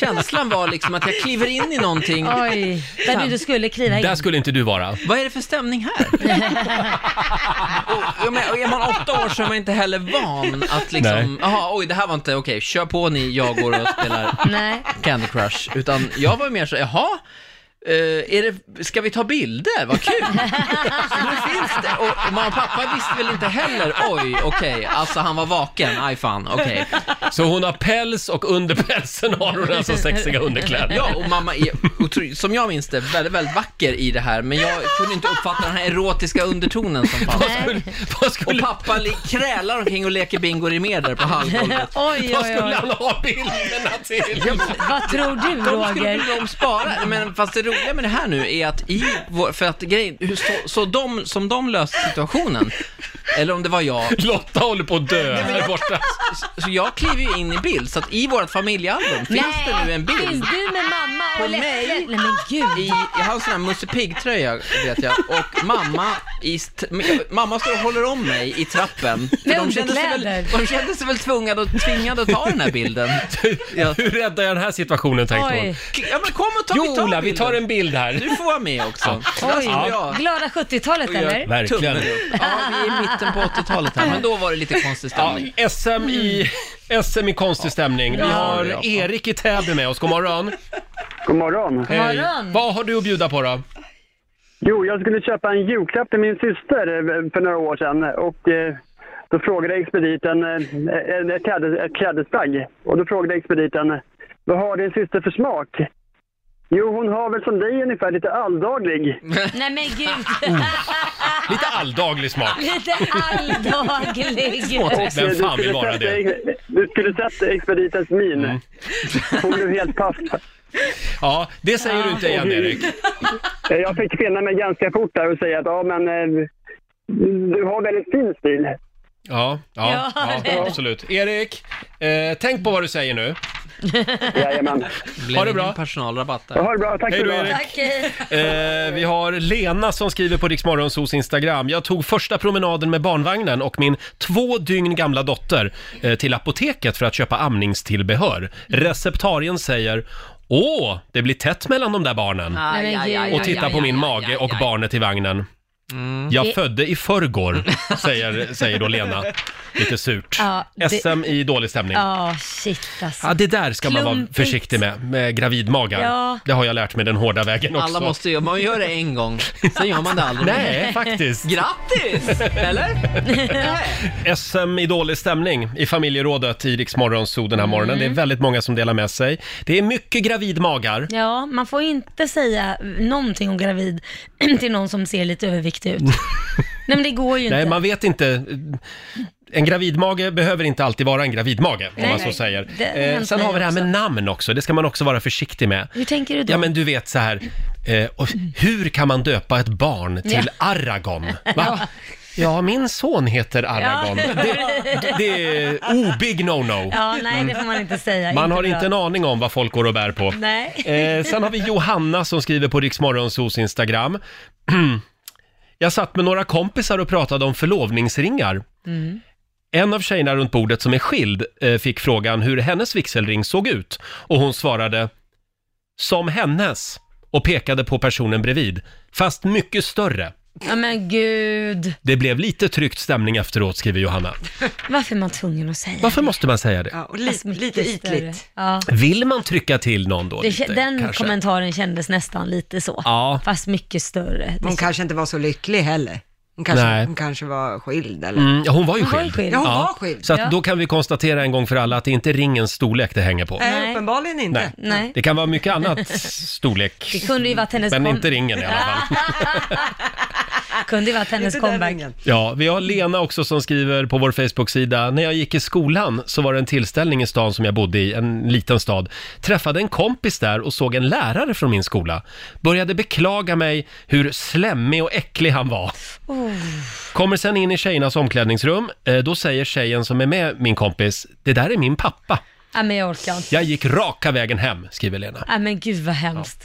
Speaker 9: känslan var liksom att jag kliver in i någonting.
Speaker 2: Oj, där du inte skulle kliva in.
Speaker 1: Där skulle inte du vara.
Speaker 9: Vad är det för stämning här? och, jag menar, och är man åtta år så är man inte heller van att liksom, jaha, oj, det här var inte okej, kör på ni, jag går och spelar
Speaker 2: Nej.
Speaker 9: Candy Crush, utan jag var mer så, jaha, eh, är det, ska vi ta bilder? Vad kul! Så nu finns det, och, och mamma och pappa visste väl inte heller, oj, okej, alltså han var vaken, aj fan, okej.
Speaker 1: Så hon har päls och under pälsen har hon alltså sexiga underkläder.
Speaker 9: Ja, och mamma är, otroligt- som jag minns det, väldigt, väldigt vacker i det här, men jag kunde inte uppfatta den här erotiska undertonen som fanns. Och pappa li- krälar omkring och leker bingo remeter på hallgolvet.
Speaker 5: Oj,
Speaker 9: Vad
Speaker 5: oj,
Speaker 9: skulle
Speaker 5: oj.
Speaker 9: han
Speaker 1: ha bilderna till?
Speaker 5: Vad tror du,
Speaker 9: De skulle
Speaker 5: Roger?
Speaker 9: bli de spara, men fast det roliga med det här nu är att i vår, för att grejen, hur- så, så de, som de löste situationen, eller om det var jag.
Speaker 1: Lotta håller på att dö här borta.
Speaker 9: Så, så jag kliver ju in i bild, så att i vårt familjealbum finns det nu en bild.
Speaker 2: Finns du med mamma
Speaker 9: På
Speaker 2: och Leffe?
Speaker 9: mig?
Speaker 2: Nej men gud.
Speaker 9: I, jag har en sån här Musse Pigg-tröja, vet jag, och mamma, i st- mamma står och håller om mig i trappen. För
Speaker 5: Med
Speaker 9: de, kände sig väl,
Speaker 5: underkläder.
Speaker 9: de kände sig väl tvingade, och, tvingade att ta den här bilden.
Speaker 1: Hur räddar jag den här situationen tänkte hon.
Speaker 9: Ja, men kom och ta, vi
Speaker 1: Jo
Speaker 9: tar
Speaker 1: Ola, vi
Speaker 9: bilden.
Speaker 1: tar en bild här.
Speaker 9: Du får vara med också.
Speaker 2: Oj,
Speaker 9: Ja.
Speaker 2: glada 70-talet
Speaker 9: Och jag-
Speaker 2: eller?
Speaker 1: Verkligen.
Speaker 9: Tummen upp. Ja, vi är i mitten på 80-talet här, men då var det lite konstig stämning.
Speaker 1: Ja, SM i, SM i konstig stämning. Vi
Speaker 9: Ja.
Speaker 1: har Erik i Täby med oss. God morgon.
Speaker 12: God morgon.
Speaker 1: Hej. Vad har du att bjuda på då?
Speaker 12: Jo, jag skulle köpa en julklapp till min syster eh, för några år sedan och eh, då frågade expediten eh, en- ett klädes- ett klädesplagg och då frågade expediten vad har din syster för smak? Jo, hon har väl som dig ungefär lite alldaglig.
Speaker 2: Nej men gud.
Speaker 1: Lite alldaglig smak.
Speaker 2: Lite alldaglig.
Speaker 12: Och, eh, du skulle sett, eh, Du skulle sett expeditens min.
Speaker 1: Mm.
Speaker 12: Hon blev helt paff.
Speaker 1: Ja, det säger du inte igen Erik.
Speaker 12: Eh, Jag fick finna mig ganska fort där och säga att ja, men eh, du har väldigt fin stil.
Speaker 1: Ja, ja,
Speaker 12: Ja,
Speaker 1: ja,
Speaker 12: det-
Speaker 1: absolut. Erik, eh, tänk på vad du säger nu.
Speaker 12: Jajamän.
Speaker 1: Ha det bra.
Speaker 9: Personalrabatt där.
Speaker 12: Ha det bra, tack
Speaker 1: Hej då
Speaker 12: du ha.
Speaker 1: Erik.
Speaker 2: Tack, hej.
Speaker 1: Eh, vi har Lena som skriver på Riksmorgonsos Instagram. Jag tog första promenaden med barnvagnen och min två dygn gamla dotter eh, till apoteket för att köpa amningstillbehör. Receptarien säger Åh, det blir tätt mellan de där barnen.
Speaker 5: Nej, men gud.
Speaker 1: Och titta på min mage och barnet i vagnen. Jag födde i förrgår, säger, säger då Lena. Lite surt.
Speaker 2: Ja, det-
Speaker 1: SM i dålig stämning.
Speaker 2: Ja, shit alltså.
Speaker 1: Ja, det där ska man vara
Speaker 2: Klumpigt.
Speaker 1: försiktig med, med gravidmagar.
Speaker 2: Ja.
Speaker 1: Det har jag lärt mig den hårda vägen också.
Speaker 9: Alla måste ju, man gör det en gång, sen gör man det aldrig
Speaker 1: Nej, faktiskt.
Speaker 9: Grattis! Eller?
Speaker 1: SM i dålig stämning i familjerådet i Rix Morgonzoo den här
Speaker 2: Mm.
Speaker 1: morgonen. Det är väldigt många som delar med sig. Det är mycket gravidmagar.
Speaker 2: Ja, man får inte säga någonting om gravid till någon som ser lite överviktig ut. Nej men det går ju inte.
Speaker 1: Nej, man vet inte. En gravidmage behöver inte alltid vara en gravidmage, om
Speaker 2: Nej,
Speaker 1: man så
Speaker 2: nej.
Speaker 1: säger.
Speaker 2: Det har
Speaker 1: Eh,
Speaker 2: hänt
Speaker 1: sen
Speaker 2: mig
Speaker 1: har vi det här med namn också, det ska man också vara försiktig med.
Speaker 2: Hur tänker du då?
Speaker 1: Ja, men du vet så här, eh, och hur kan man döpa ett barn till
Speaker 2: Ja.
Speaker 1: Aragon? Va? Ja, min son heter Aragon.
Speaker 2: Ja.
Speaker 1: Det, det, det är obig no-no.
Speaker 2: Ja, nej det får man inte säga.
Speaker 1: Man har
Speaker 2: bra.
Speaker 1: inte en aning om vad folk går och bär på.
Speaker 2: Nej.
Speaker 1: Eh, sen har vi Johanna som skriver på Riksmorgonsos Instagram. Jag satt med några kompisar och pratade om förlovningsringar.
Speaker 5: Mm.
Speaker 1: En av tjejerna runt bordet som är skild eh, fick frågan hur hennes vigselring såg ut och hon svarade “som hennes” och pekade på personen bredvid, fast mycket större.
Speaker 2: Ja men gud.
Speaker 1: Det blev lite tryckt stämning efteråt, skriver Johanna.
Speaker 2: Varför är man tvungen att säga
Speaker 1: Varför måste man säga det?
Speaker 2: Ja, och lite, lite
Speaker 3: ytligt.
Speaker 2: Ja.
Speaker 1: Vill man trycka till någon då?
Speaker 2: Det,
Speaker 1: lite,
Speaker 2: den
Speaker 1: kanske?
Speaker 2: kommentaren kändes nästan lite så.
Speaker 1: Ja.
Speaker 2: Fast mycket större.
Speaker 3: Hon kanske inte var så lycklig heller. Hon kanske,
Speaker 1: Nej.
Speaker 3: hon kanske var skild eller?
Speaker 1: Mm, ja, hon var ju skild.
Speaker 3: Ja, hon
Speaker 1: Ja,
Speaker 3: var skild.
Speaker 1: Så att
Speaker 3: Ja.
Speaker 1: då kan vi konstatera en gång för alla att det inte är ringens storlek det hänger på.
Speaker 3: Nej, uppenbarligen inte.
Speaker 2: Nej.
Speaker 1: Det kan vara mycket annat storlek.
Speaker 2: Det kunde ju varit hennes
Speaker 1: Men
Speaker 2: kom-
Speaker 1: inte ringen i alla fall.
Speaker 2: Kunde ju varit hennes comeback.
Speaker 1: Ja, vi har Lena också som skriver på vår Facebook-sida. När jag gick i skolan så var det en tillställning i stan som jag bodde i, en liten stad. Träffade en kompis där och såg en lärare från min skola. Började beklaga mig hur slemmig och äcklig han var.
Speaker 2: Oh.
Speaker 1: Kommer sen in i tjejernas omklädningsrum. Eh, Då säger tjejen som är med min kompis, det där är min pappa.
Speaker 2: Ja, men jag orkar inte.
Speaker 1: Jag gick raka vägen hem, skriver Lena.
Speaker 2: Ja, men gud vad hemskt.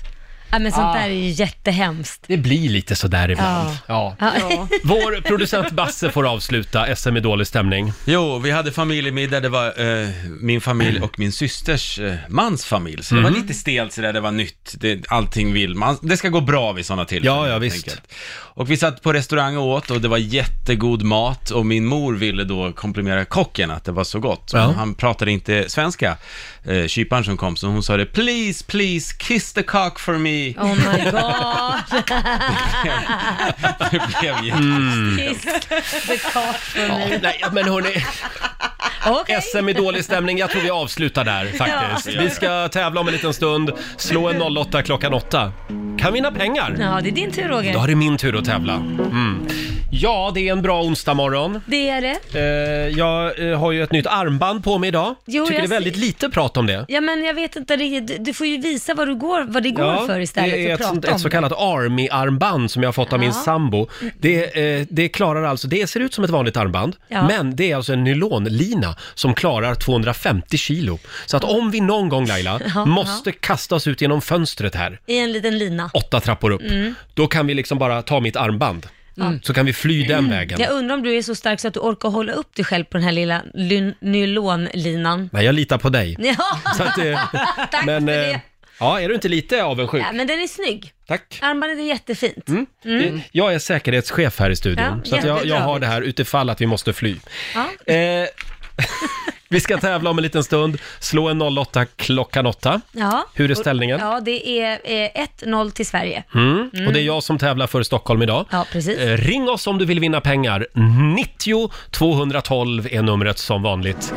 Speaker 2: Ja, men sånt
Speaker 1: Ah.
Speaker 2: där är ju jättehemskt.
Speaker 1: Det blir lite sådär ibland. Ja.
Speaker 2: Ja.
Speaker 1: Vår producent Basse får avsluta SM i dålig stämning.
Speaker 7: Jo, vi hade familjemiddag, det var eh, min familj och min systers eh, mans familj. Så det var
Speaker 1: Mhm.
Speaker 7: lite stelt sådär, det var nytt, det, allting vill man. Det ska gå bra vid sådana tillfällen.
Speaker 1: Ja, ja,
Speaker 7: helt
Speaker 1: visst.
Speaker 7: enkelt. Och vi satt på restaurang och åt och det var jättegod mat och min mor ville då komplimera kocken att det var så gott.
Speaker 1: Ja.
Speaker 7: Han pratade inte svenska, eh, kyparen som kom, så hon sa det “Please, please, kiss the cock for me”.
Speaker 2: Oh my god.
Speaker 7: det blev
Speaker 1: Mm.
Speaker 7: jättestelt.
Speaker 2: Kiss the cock for
Speaker 1: Ja,
Speaker 2: me.
Speaker 1: nej, men hörni.
Speaker 2: Okej.
Speaker 1: SM i dålig stämning, jag tror vi avslutar där faktiskt.
Speaker 2: Ja.
Speaker 1: Vi ska tävla om en liten stund, slå en 08 klockan 8. Kan vinna pengar!
Speaker 2: Ja, det är din tur Roger.
Speaker 1: Då är det min tur att tävla. Mm. Ja, det är en bra onsdag morgon.
Speaker 2: Det är det.
Speaker 1: Eh, jag eh, har ju ett nytt armband på mig idag.
Speaker 2: Jo,
Speaker 1: Tycker det
Speaker 2: jag
Speaker 1: är väldigt
Speaker 2: ser-
Speaker 1: lite prat om det.
Speaker 2: Ja, men jag vet inte riktigt. Du- Du får ju visa vad, du går, vad det går för istället
Speaker 1: det är
Speaker 2: för
Speaker 1: ett,
Speaker 2: att
Speaker 1: sånt-
Speaker 2: prata om
Speaker 1: ett så kallat Army-armband som jag har fått av min
Speaker 2: Ja.
Speaker 1: sambo. Det, eh, det klarar alltså, det ser ut som ett vanligt armband,
Speaker 2: Ja.
Speaker 1: men det är alltså en nylonlina som klarar 250 kilo. Så att om vi någon gång Laila,
Speaker 2: Ja,
Speaker 1: måste kasta oss ut genom fönstret här,
Speaker 2: I en liten lina.
Speaker 1: åtta trappor upp,
Speaker 2: Mm.
Speaker 1: då kan vi liksom bara ta mitt armband.
Speaker 2: Mm.
Speaker 1: Så kan vi fly den vägen.
Speaker 2: Jag undrar om du är så stark så att du orkar hålla upp dig själv på den här lilla lyn- nylonlinan.
Speaker 1: Nej, jag litar på dig.
Speaker 2: Ja.
Speaker 1: Så att, eh,
Speaker 2: Tack
Speaker 1: men,
Speaker 2: för
Speaker 1: eh,
Speaker 2: det.
Speaker 1: Ja, är du inte lite avundsjuk?
Speaker 2: Ja, men den är snygg.
Speaker 1: Tack.
Speaker 2: Armbandet är jättefint.
Speaker 1: Mm.
Speaker 2: Mm.
Speaker 1: Jag är säkerhetschef här i studion,
Speaker 2: Ja,
Speaker 1: så att jag, jag
Speaker 2: jättebra.
Speaker 1: har det här utifall att vi måste fly.
Speaker 2: Ja.
Speaker 1: Eh, vi ska tävla om en liten stund. Slå en 08 klockan 8.
Speaker 2: Ja.
Speaker 1: Hur är ställningen?
Speaker 2: Ja, det är eh, 1-0 till Sverige.
Speaker 1: Mm.
Speaker 2: Mm.
Speaker 1: Och det är jag som tävlar för Stockholm idag.
Speaker 2: Ja, precis.
Speaker 1: Eh, ring oss om du vill vinna pengar. 90 212 är numret som vanligt.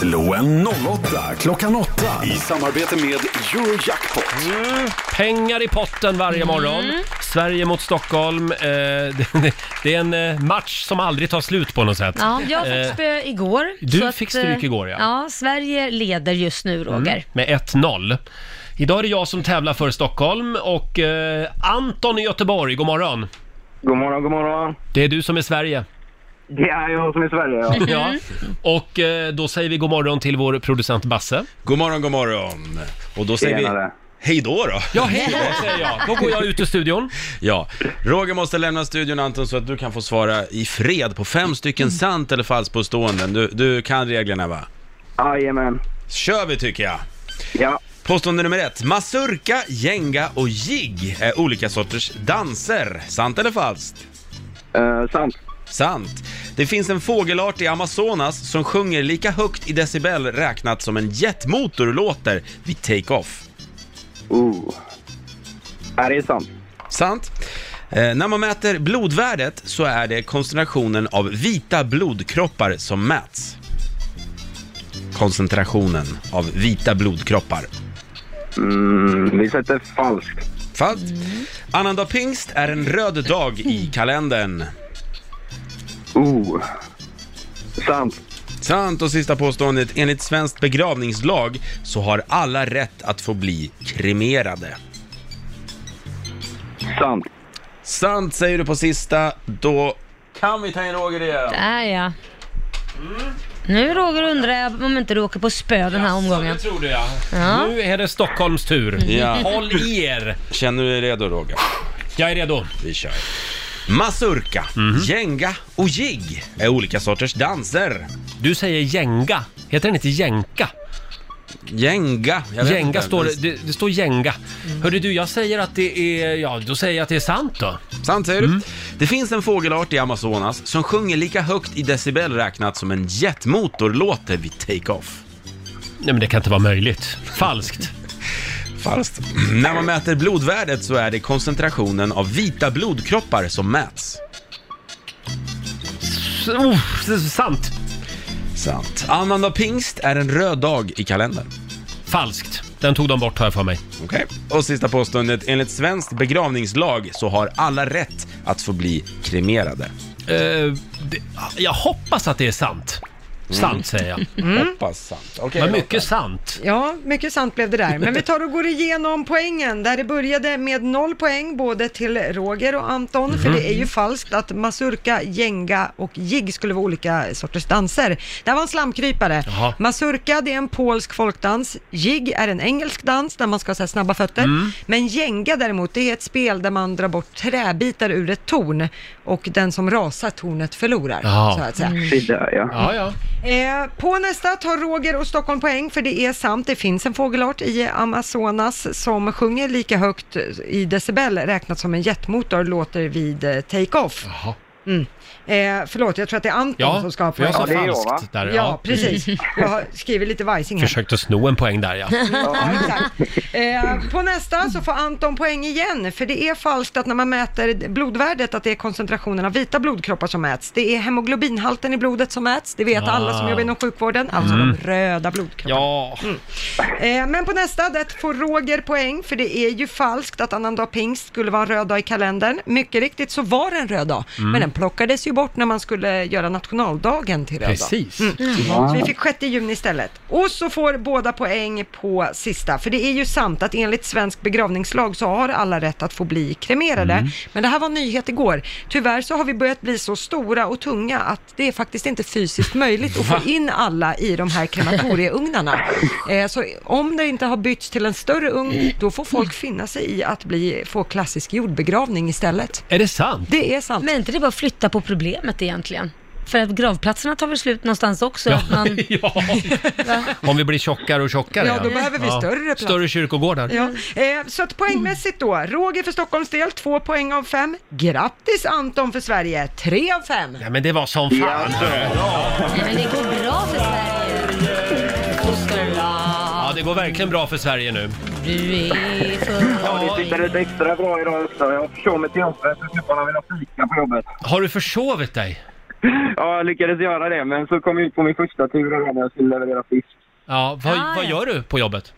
Speaker 4: Slå en 08 klockan 8 i samarbete med Eurojackpot.
Speaker 1: Pengar i potten varje morgon.
Speaker 2: Mm.
Speaker 1: Sverige mot Stockholm. Eh, det, det är en eh, match som aldrig tar slut på något sätt.
Speaker 2: Ja, jag fick
Speaker 1: Eh,
Speaker 2: spö igår.
Speaker 1: du
Speaker 2: så att,
Speaker 1: fick stryk
Speaker 2: eh,
Speaker 1: igår, ja.
Speaker 2: Ja, Sverige leder just nu, Roger.
Speaker 1: Mm, med 1-0. Idag är det jag som tävlar för Stockholm och eh, Anton i Göteborg, god morgon.
Speaker 13: God morgon, god morgon.
Speaker 1: Det är du som är Sverige.
Speaker 13: Det är jag som är i Sverige, ja.
Speaker 1: Ja. Och eh, då säger vi god morgon till vår producent Basse.
Speaker 7: God morgon, god morgon. Och då säger
Speaker 1: Tjenare.
Speaker 7: vi hej då då.
Speaker 1: Ja, hej då säger jag. Då går jag ut ur studion.
Speaker 7: Ja, Roger måste lämna studion Anton så att du kan få svara i fred på fem stycken sant eller falskt påståenden. Du, du kan reglerna va?
Speaker 13: Jajamän.
Speaker 7: Kör vi tycker jag.
Speaker 13: Ja.
Speaker 7: Påstående nummer ett. Mazurka, jenga och jig är olika sorters danser. Sant eller falskt?
Speaker 13: eh,
Speaker 7: sant. Sant. Det finns en fågelart i Amazonas som sjunger lika högt i decibel räknat som en jetmotor låter vid take-off. Ooh. Är det sant? Sant. Eh, när man mäter blodvärdet så är det koncentrationen av vita blodkroppar som mäts. Koncentrationen av vita blodkroppar. Mm, vi sätter falskt. Falskt. Annandag pingst är en röd dag i kalendern. Oh. Sant. Sant och sista påståendet. Enligt svenskt begravningslag så har alla rätt att få bli kremerade. Sant. Sant säger du på sista. Då kan vi ta in Roger igen.
Speaker 2: Där ja. Nu Roger undrar jag om inte du åker på spö den här omgången.
Speaker 1: tror du ja.
Speaker 2: Ja.
Speaker 1: Nu är det Stockholms tur.
Speaker 7: Mm. Ja.
Speaker 1: Håll i er!
Speaker 7: Känner du dig redo Roger?
Speaker 1: Jag är redo.
Speaker 7: Vi kör. Mazurka,
Speaker 1: Mhm.
Speaker 7: jenga och jig är olika sorters danser.
Speaker 1: Du säger jenga. Heter den inte jenka?
Speaker 7: Jenga? jag vet
Speaker 1: Jenga
Speaker 7: inte.
Speaker 1: står det, det, det står jenga. Hörru du, jag säger att det är, ja då säger jag att det Mm. är sant då.
Speaker 7: Sant säger du. Det finns en fågelart i Amazonas som sjunger lika högt i decibel räknat som en jetmotor låter vid take-off.
Speaker 1: Nej men det kan inte vara möjligt. Falskt.
Speaker 7: Falskt. När man mäter blodvärdet så är det koncentrationen av vita blodkroppar som mäts.
Speaker 1: sant.
Speaker 7: Sant. Annandag pingst är en röd dag i kalendern.
Speaker 1: Falskt. Den tog de bort har jag för mig.
Speaker 7: Okej. Och sista påståendet. Enligt svensk begravningslag så har alla rätt att få bli kremerade.
Speaker 1: Eh, det, jag hoppas att det är sant. Sant säger jag.
Speaker 3: Mm.
Speaker 7: Hoppas sant.
Speaker 1: Men mycket sant.
Speaker 3: Ja, mycket sant blev det där. Men vi tar och går igenom poängen där det började med noll poäng både till Roger och Anton. För
Speaker 2: Mhm.
Speaker 3: det är ju falskt att mazurka, jenga och jig skulle vara olika sorters danser. Det här var en slamkrypare.
Speaker 2: Jaha.
Speaker 3: Mazurka, det är en polsk folkdans. Jig är en engelsk dans där man ska ha så här snabba fötter.
Speaker 2: Mm.
Speaker 3: Men jenga däremot, det är ett spel där man drar bort träbitar ur ett torn och den som rasar tornet förlorar.
Speaker 6: Jaha.
Speaker 3: Så att säga.
Speaker 6: Mm. Se där, ja. Ja, ja.
Speaker 3: Eh, på nästa tar Roger och Stockholm poäng för det är sant, det finns en fågelart i Amazonas som sjunger lika högt i decibel räknat som en jetmotor låter vid eh, take-off. Mm. Eh, förlåt, jag tror att det är Anton
Speaker 1: Ja,
Speaker 3: som ska ha
Speaker 1: för jag sa
Speaker 3: poäng.
Speaker 1: Ja, det är jag, va? falskt där,
Speaker 3: ja.
Speaker 1: ja.
Speaker 3: precis. Jag har skrivit lite vajsing här.
Speaker 1: Försökte sno en poäng där ja.
Speaker 3: Ja, exakt. Eh, på nästa så får Anton poäng igen, för det är falskt att när man mäter blodvärdet att det är koncentrationen av vita blodkroppar som mäts. Det är hemoglobinhalten i blodet som mäts, det vet alla som
Speaker 1: Ah.
Speaker 3: jobbar inom sjukvården, alltså
Speaker 1: Mm.
Speaker 3: de röda blodkropparna.
Speaker 1: Ja.
Speaker 3: Eh, men på nästa, det får Roger poäng, för det är ju falskt att annandag pingst skulle vara en röd dag i kalendern. Mycket riktigt så var det en röd dag,
Speaker 1: Mm.
Speaker 3: men den plockades ju bort när man skulle göra nationaldagen till röd dag.
Speaker 1: Precis.
Speaker 3: Så vi fick 6 juni istället. Och så får båda poäng på sista, för det är ju sant att enligt svensk begravningslag så har alla rätt att få bli kremerade.
Speaker 2: Mm.
Speaker 3: Men det här var en nyhet igår. Tyvärr så har vi börjat bli så stora och tunga att det är faktiskt inte fysiskt möjligt att
Speaker 2: Va?
Speaker 3: få in alla i de här krematorieugnarna. Eh, så om det inte har bytts till en större ugn, då får
Speaker 2: Mm.
Speaker 3: folk finna sig i att bli, få klassisk jordbegravning istället.
Speaker 1: Är det sant?
Speaker 3: Det är sant.
Speaker 2: Men är inte det bara att flytta på problemet egentligen? För att gravplatserna tar väl slut någonstans också?
Speaker 1: Ja,
Speaker 2: att man...
Speaker 1: Om vi blir tjockare och tjockare
Speaker 3: Ja, då behöver vi större plats.
Speaker 1: Större kyrkogårdar.
Speaker 3: Ja, eh, så att poängmässigt då, Roger för Stockholms del, två poäng av fem. Grattis Anton för Sverige, tre av fem.
Speaker 1: Ja, men det var som fan.
Speaker 2: Men det går bra för Sverige. Fosterland.
Speaker 1: Ja, det går verkligen bra för Sverige nu.
Speaker 2: Du är
Speaker 13: Ja, det sitter lite extra bra idag också. Jag försov mig till jobbet och typ bara ville fika på jobbet.
Speaker 1: Har du försovit dig?
Speaker 13: Ja, jag lyckades göra det, men så kom jag ut på min första tur och hade jag skulle leverera fisk.
Speaker 1: Ja, vad,
Speaker 3: Ah,
Speaker 1: vad gör du på jobbet?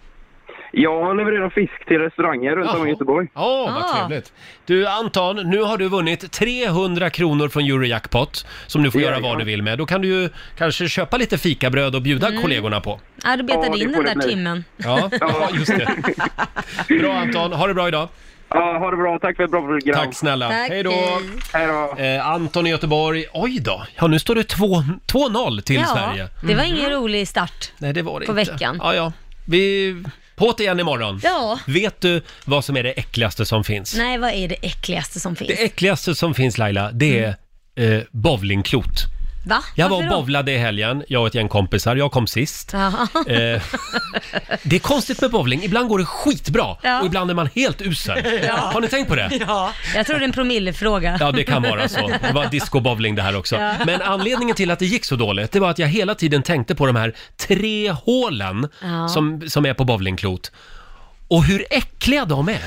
Speaker 13: Jag har levererat fisk till restauranger runt om
Speaker 1: Jaha.
Speaker 13: i Göteborg.
Speaker 1: Åh, vad
Speaker 13: Ah.
Speaker 1: trevligt. Du Anton, nu har du vunnit 300 kronor från Eurojackpot som du får göra vad du vill med. Då kan du ju kanske köpa lite fikabröd och bjuda
Speaker 3: Mm.
Speaker 1: kollegorna på.
Speaker 2: Ja, då betar
Speaker 1: Ja,
Speaker 2: vi
Speaker 1: det
Speaker 2: in
Speaker 1: får
Speaker 2: den
Speaker 1: det
Speaker 2: där
Speaker 1: bli.
Speaker 2: timmen.
Speaker 1: Ja, ja just det. Bra Anton, ha det bra idag.
Speaker 13: Ja, ha det bra. Tack för ett bra program.
Speaker 1: Tack snälla.
Speaker 13: Tack.
Speaker 1: Hej då.
Speaker 13: Hej då.
Speaker 1: Eh, Anton i Göteborg. Oj då. Ja, nu står det 2 2-0 till
Speaker 2: ja,
Speaker 1: Sverige.
Speaker 2: det var ingen rolig start.
Speaker 1: Nej, det var det
Speaker 2: på
Speaker 1: inte.
Speaker 2: veckan.
Speaker 1: Ja, ja. Vi... På det igen imorgon.
Speaker 2: Ja.
Speaker 1: Vet du vad som är det äckligaste som finns?
Speaker 2: Nej, vad är det äckligaste som finns?
Speaker 1: Det äckligaste som finns Laila, det är eh, bowlingklot.
Speaker 2: Va?
Speaker 1: Jag var och
Speaker 2: Mm. Varför då?
Speaker 1: bowlade i helgen, jag och ett gäng kompisar. Jag kom sist.
Speaker 2: Jaha.
Speaker 1: Eh, det är konstigt med bowling. Ibland går det skitbra
Speaker 2: Ja.
Speaker 1: och ibland är man helt usel.
Speaker 2: Ja.
Speaker 1: Har ni tänkt på det?
Speaker 2: Ja. Jag tror det är en promillefråga.
Speaker 1: Ja, det kan vara så. Det var discobowling det här också.
Speaker 2: Ja.
Speaker 1: Men anledningen till att det gick så dåligt, det var att jag hela tiden tänkte på de här tre hålen
Speaker 2: Ja.
Speaker 1: som, som är på bowlingklot. Och hur äckliga de är!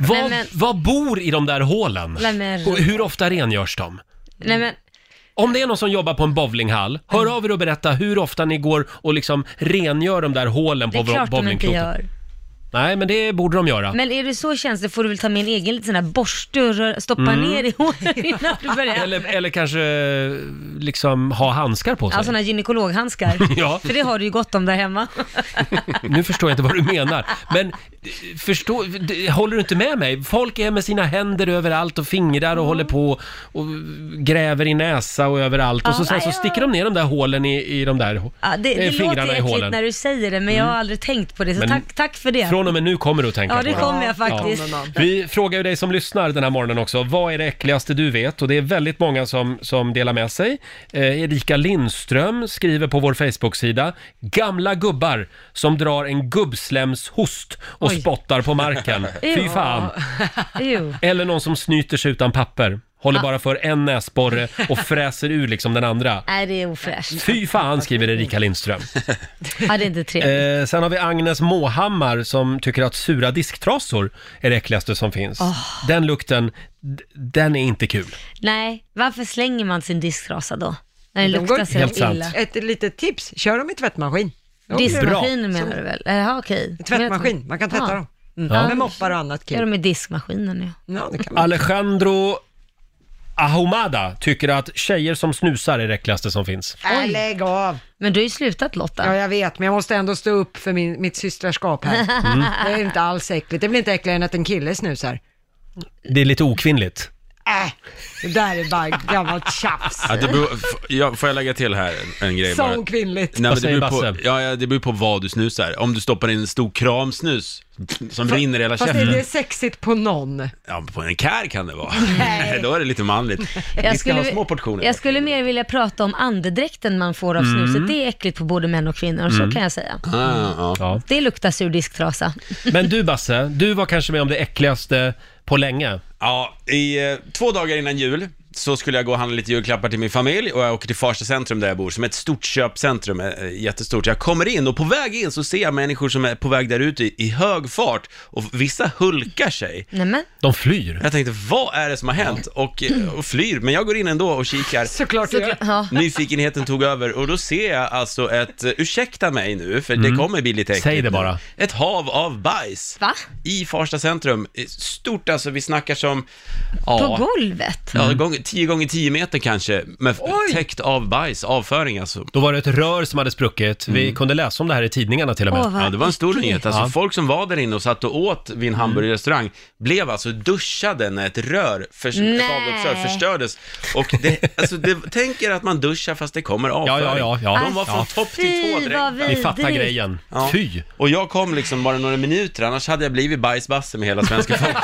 Speaker 1: Vad,
Speaker 2: Nej, men-
Speaker 1: vad bor i de där hålen?
Speaker 2: Nej, men-
Speaker 1: Och hur ofta rengörs de?
Speaker 2: Nej men,
Speaker 1: Om det är någon som jobbar på en bowlinghall, hör av er och berätta hur ofta ni går och liksom rengör de där hålen
Speaker 2: det
Speaker 1: på
Speaker 2: är klart de inte
Speaker 1: bowlingklotet.
Speaker 2: gör.
Speaker 1: Nej, men det borde de göra.
Speaker 2: Men är det så känsligt får du väl ta med en egen liten sån här borste och rör- stoppa
Speaker 1: Mm.
Speaker 2: ner i håret innan du börjar.
Speaker 1: Eller, eller kanske eh, liksom ha handskar på sig.
Speaker 2: Ja, såna här gynekologhandskar.
Speaker 1: Ja.
Speaker 2: För det har du ju gott om där hemma.
Speaker 1: Nu förstår jag inte vad du menar. Men eh, förstå, d- håller du inte med mig? Folk är med sina händer överallt och fingrar och håller på och gräver i näsa och överallt. och så,
Speaker 2: Ja,
Speaker 1: sen så
Speaker 2: nej,
Speaker 1: sticker de ner de där hålen i, i de där
Speaker 2: Ja, det
Speaker 1: eh,
Speaker 2: det låter äckligt när du säger det, men jag har
Speaker 1: Mm.
Speaker 2: aldrig tänkt på det. Så
Speaker 1: Men
Speaker 2: tack, tack för det.
Speaker 1: Från och med nu kommer du att tänka
Speaker 2: Ja,
Speaker 1: på det.
Speaker 2: det kommer jag faktiskt.
Speaker 1: Ja. Vi frågar ju dig som lyssnar den här morgonen också. Vad är det äckligaste du vet? Och det är väldigt många som, som delar med sig. Eh, Erika Lindström skriver på vår Facebook-sida. Gamla gubbar som drar en gubbslemshost och
Speaker 2: Oj.
Speaker 1: spottar på marken. Fy fan!
Speaker 2: Jo.
Speaker 1: Eller någon som snyter sig utan papper. Håller bara för en näsborre och fräser ur liksom den andra.
Speaker 2: Nej, det är ofräscht.
Speaker 1: Fy fan, skriver Erika Lindström.
Speaker 2: Ja, det är inte trevligt.
Speaker 1: Eh, sen har vi Agnes Måhammar som tycker att sura disktrasor är det äckligaste som finns.
Speaker 2: Åh.
Speaker 1: Den lukten, d- den är inte kul.
Speaker 2: Nej, varför slänger man sin disktrasa då? När det
Speaker 3: De
Speaker 2: luktar
Speaker 3: går-
Speaker 2: så illa.
Speaker 3: Ett litet tips, kör dem i tvättmaskin. Då blir de-
Speaker 2: Diskmaskinen menar du väl? Jaha, okej.
Speaker 3: Tvättmaskin, man kan tvätta
Speaker 2: Ja.
Speaker 3: dem.
Speaker 2: Mm.
Speaker 1: Ja.
Speaker 3: Med moppar och annat
Speaker 2: Gör dem
Speaker 3: kul.
Speaker 2: i diskmaskinen ja.
Speaker 1: Alejandro Ahumada tycker att tjejer som snusar är det äckligaste som finns.
Speaker 3: Äh, lägg av.
Speaker 2: Men du har ju slutat Lotta.
Speaker 3: Ja, jag vet, men jag måste ändå stå upp för min, mitt systraskap här.
Speaker 1: Mm.
Speaker 3: Det är inte alls äckligt. Det blir inte äckligare än att en kille snusar.
Speaker 1: Det är lite okvinnligt.
Speaker 3: Äh, det där är bara gammalt tjafs.
Speaker 7: Ja, det beror, f- ja, får jag lägga till här en, en grej bara?
Speaker 3: Så okvinnligt.
Speaker 7: Nej, men det, beror på,
Speaker 1: Basse?
Speaker 7: ja, ja, det beror på vad du snusar. Om du stoppar in en stor kramsnus som rinner i hela
Speaker 3: Fast är
Speaker 7: käften.
Speaker 3: det sexigt på någon?
Speaker 7: Ja, på en kär kan det vara. Då är det lite manligt. Vi
Speaker 2: Jag
Speaker 7: ska
Speaker 2: skulle,
Speaker 7: ha små portioner.
Speaker 2: jag skulle mer vilja prata om andedräkten man får av
Speaker 7: Mm.
Speaker 2: snuset. Det är äckligt på både män och kvinnor, så
Speaker 1: Mm.
Speaker 2: kan jag säga.
Speaker 7: Ah,
Speaker 1: Ja.
Speaker 2: Det luktar sur disktrasa.
Speaker 1: Men du Basse, du var kanske med om det äckligaste på länge.
Speaker 7: Ja, i eh, två dagar innan jul så skulle jag gå och handla lite julklappar till min familj och jag åker till Farsta centrum där jag bor, som är ett stort köpcentrum, eh, eh, jättestort. Jag kommer in och på väg in så ser jag människor som är på väg där ute i, i hög fart och vissa hulkar sig.
Speaker 2: Nämen.
Speaker 1: De flyr.
Speaker 7: Jag tänkte, vad är det som har hänt? Och, eh, och flyr, men jag går in ändå och kikar.
Speaker 3: Såklart
Speaker 2: du gör. Ja.
Speaker 7: Nyfikenheten tog över och då ser jag alltså ett, eh, ursäkta mig nu, för det kommer bli lite äckligt.
Speaker 1: Mm. Säg det bara.
Speaker 7: Ett hav av bajs.
Speaker 2: Va?
Speaker 7: I Farsta centrum. Eh, Stort alltså, vi snackar som... ja,
Speaker 2: På golvet?
Speaker 7: Ja, gång, 10 gånger 10 meter kanske, med
Speaker 2: Oj!
Speaker 7: täckt av bajs, avföring alltså.
Speaker 1: Då var det ett rör som hade spruckit. Vi kunde läsa om det här i tidningarna till och med.
Speaker 2: Åh, vad
Speaker 7: Ja, det var en stor
Speaker 2: äckligt.
Speaker 7: nyhet. Alltså,
Speaker 1: Ja. Mm.
Speaker 7: Folk som var där inne och satt och åt vid en hamburgerrestaurang blev alltså duschade när ett rör, för,
Speaker 2: Nej.
Speaker 7: ett avloppsrör förstördes. Och det, alltså, det, tänk er att man duschar fast det kommer avföring.
Speaker 1: Ja, ja, ja, ja.
Speaker 7: De var från
Speaker 1: Ja.
Speaker 7: topp till tå
Speaker 2: Ah, Fy,
Speaker 7: direkt.
Speaker 2: vad Vi fattar vidrigt. grejen.
Speaker 1: Fy!
Speaker 7: Och jag kom liksom bara några minuter, annars hade jag blivit bajsbasse med hela svenska folket.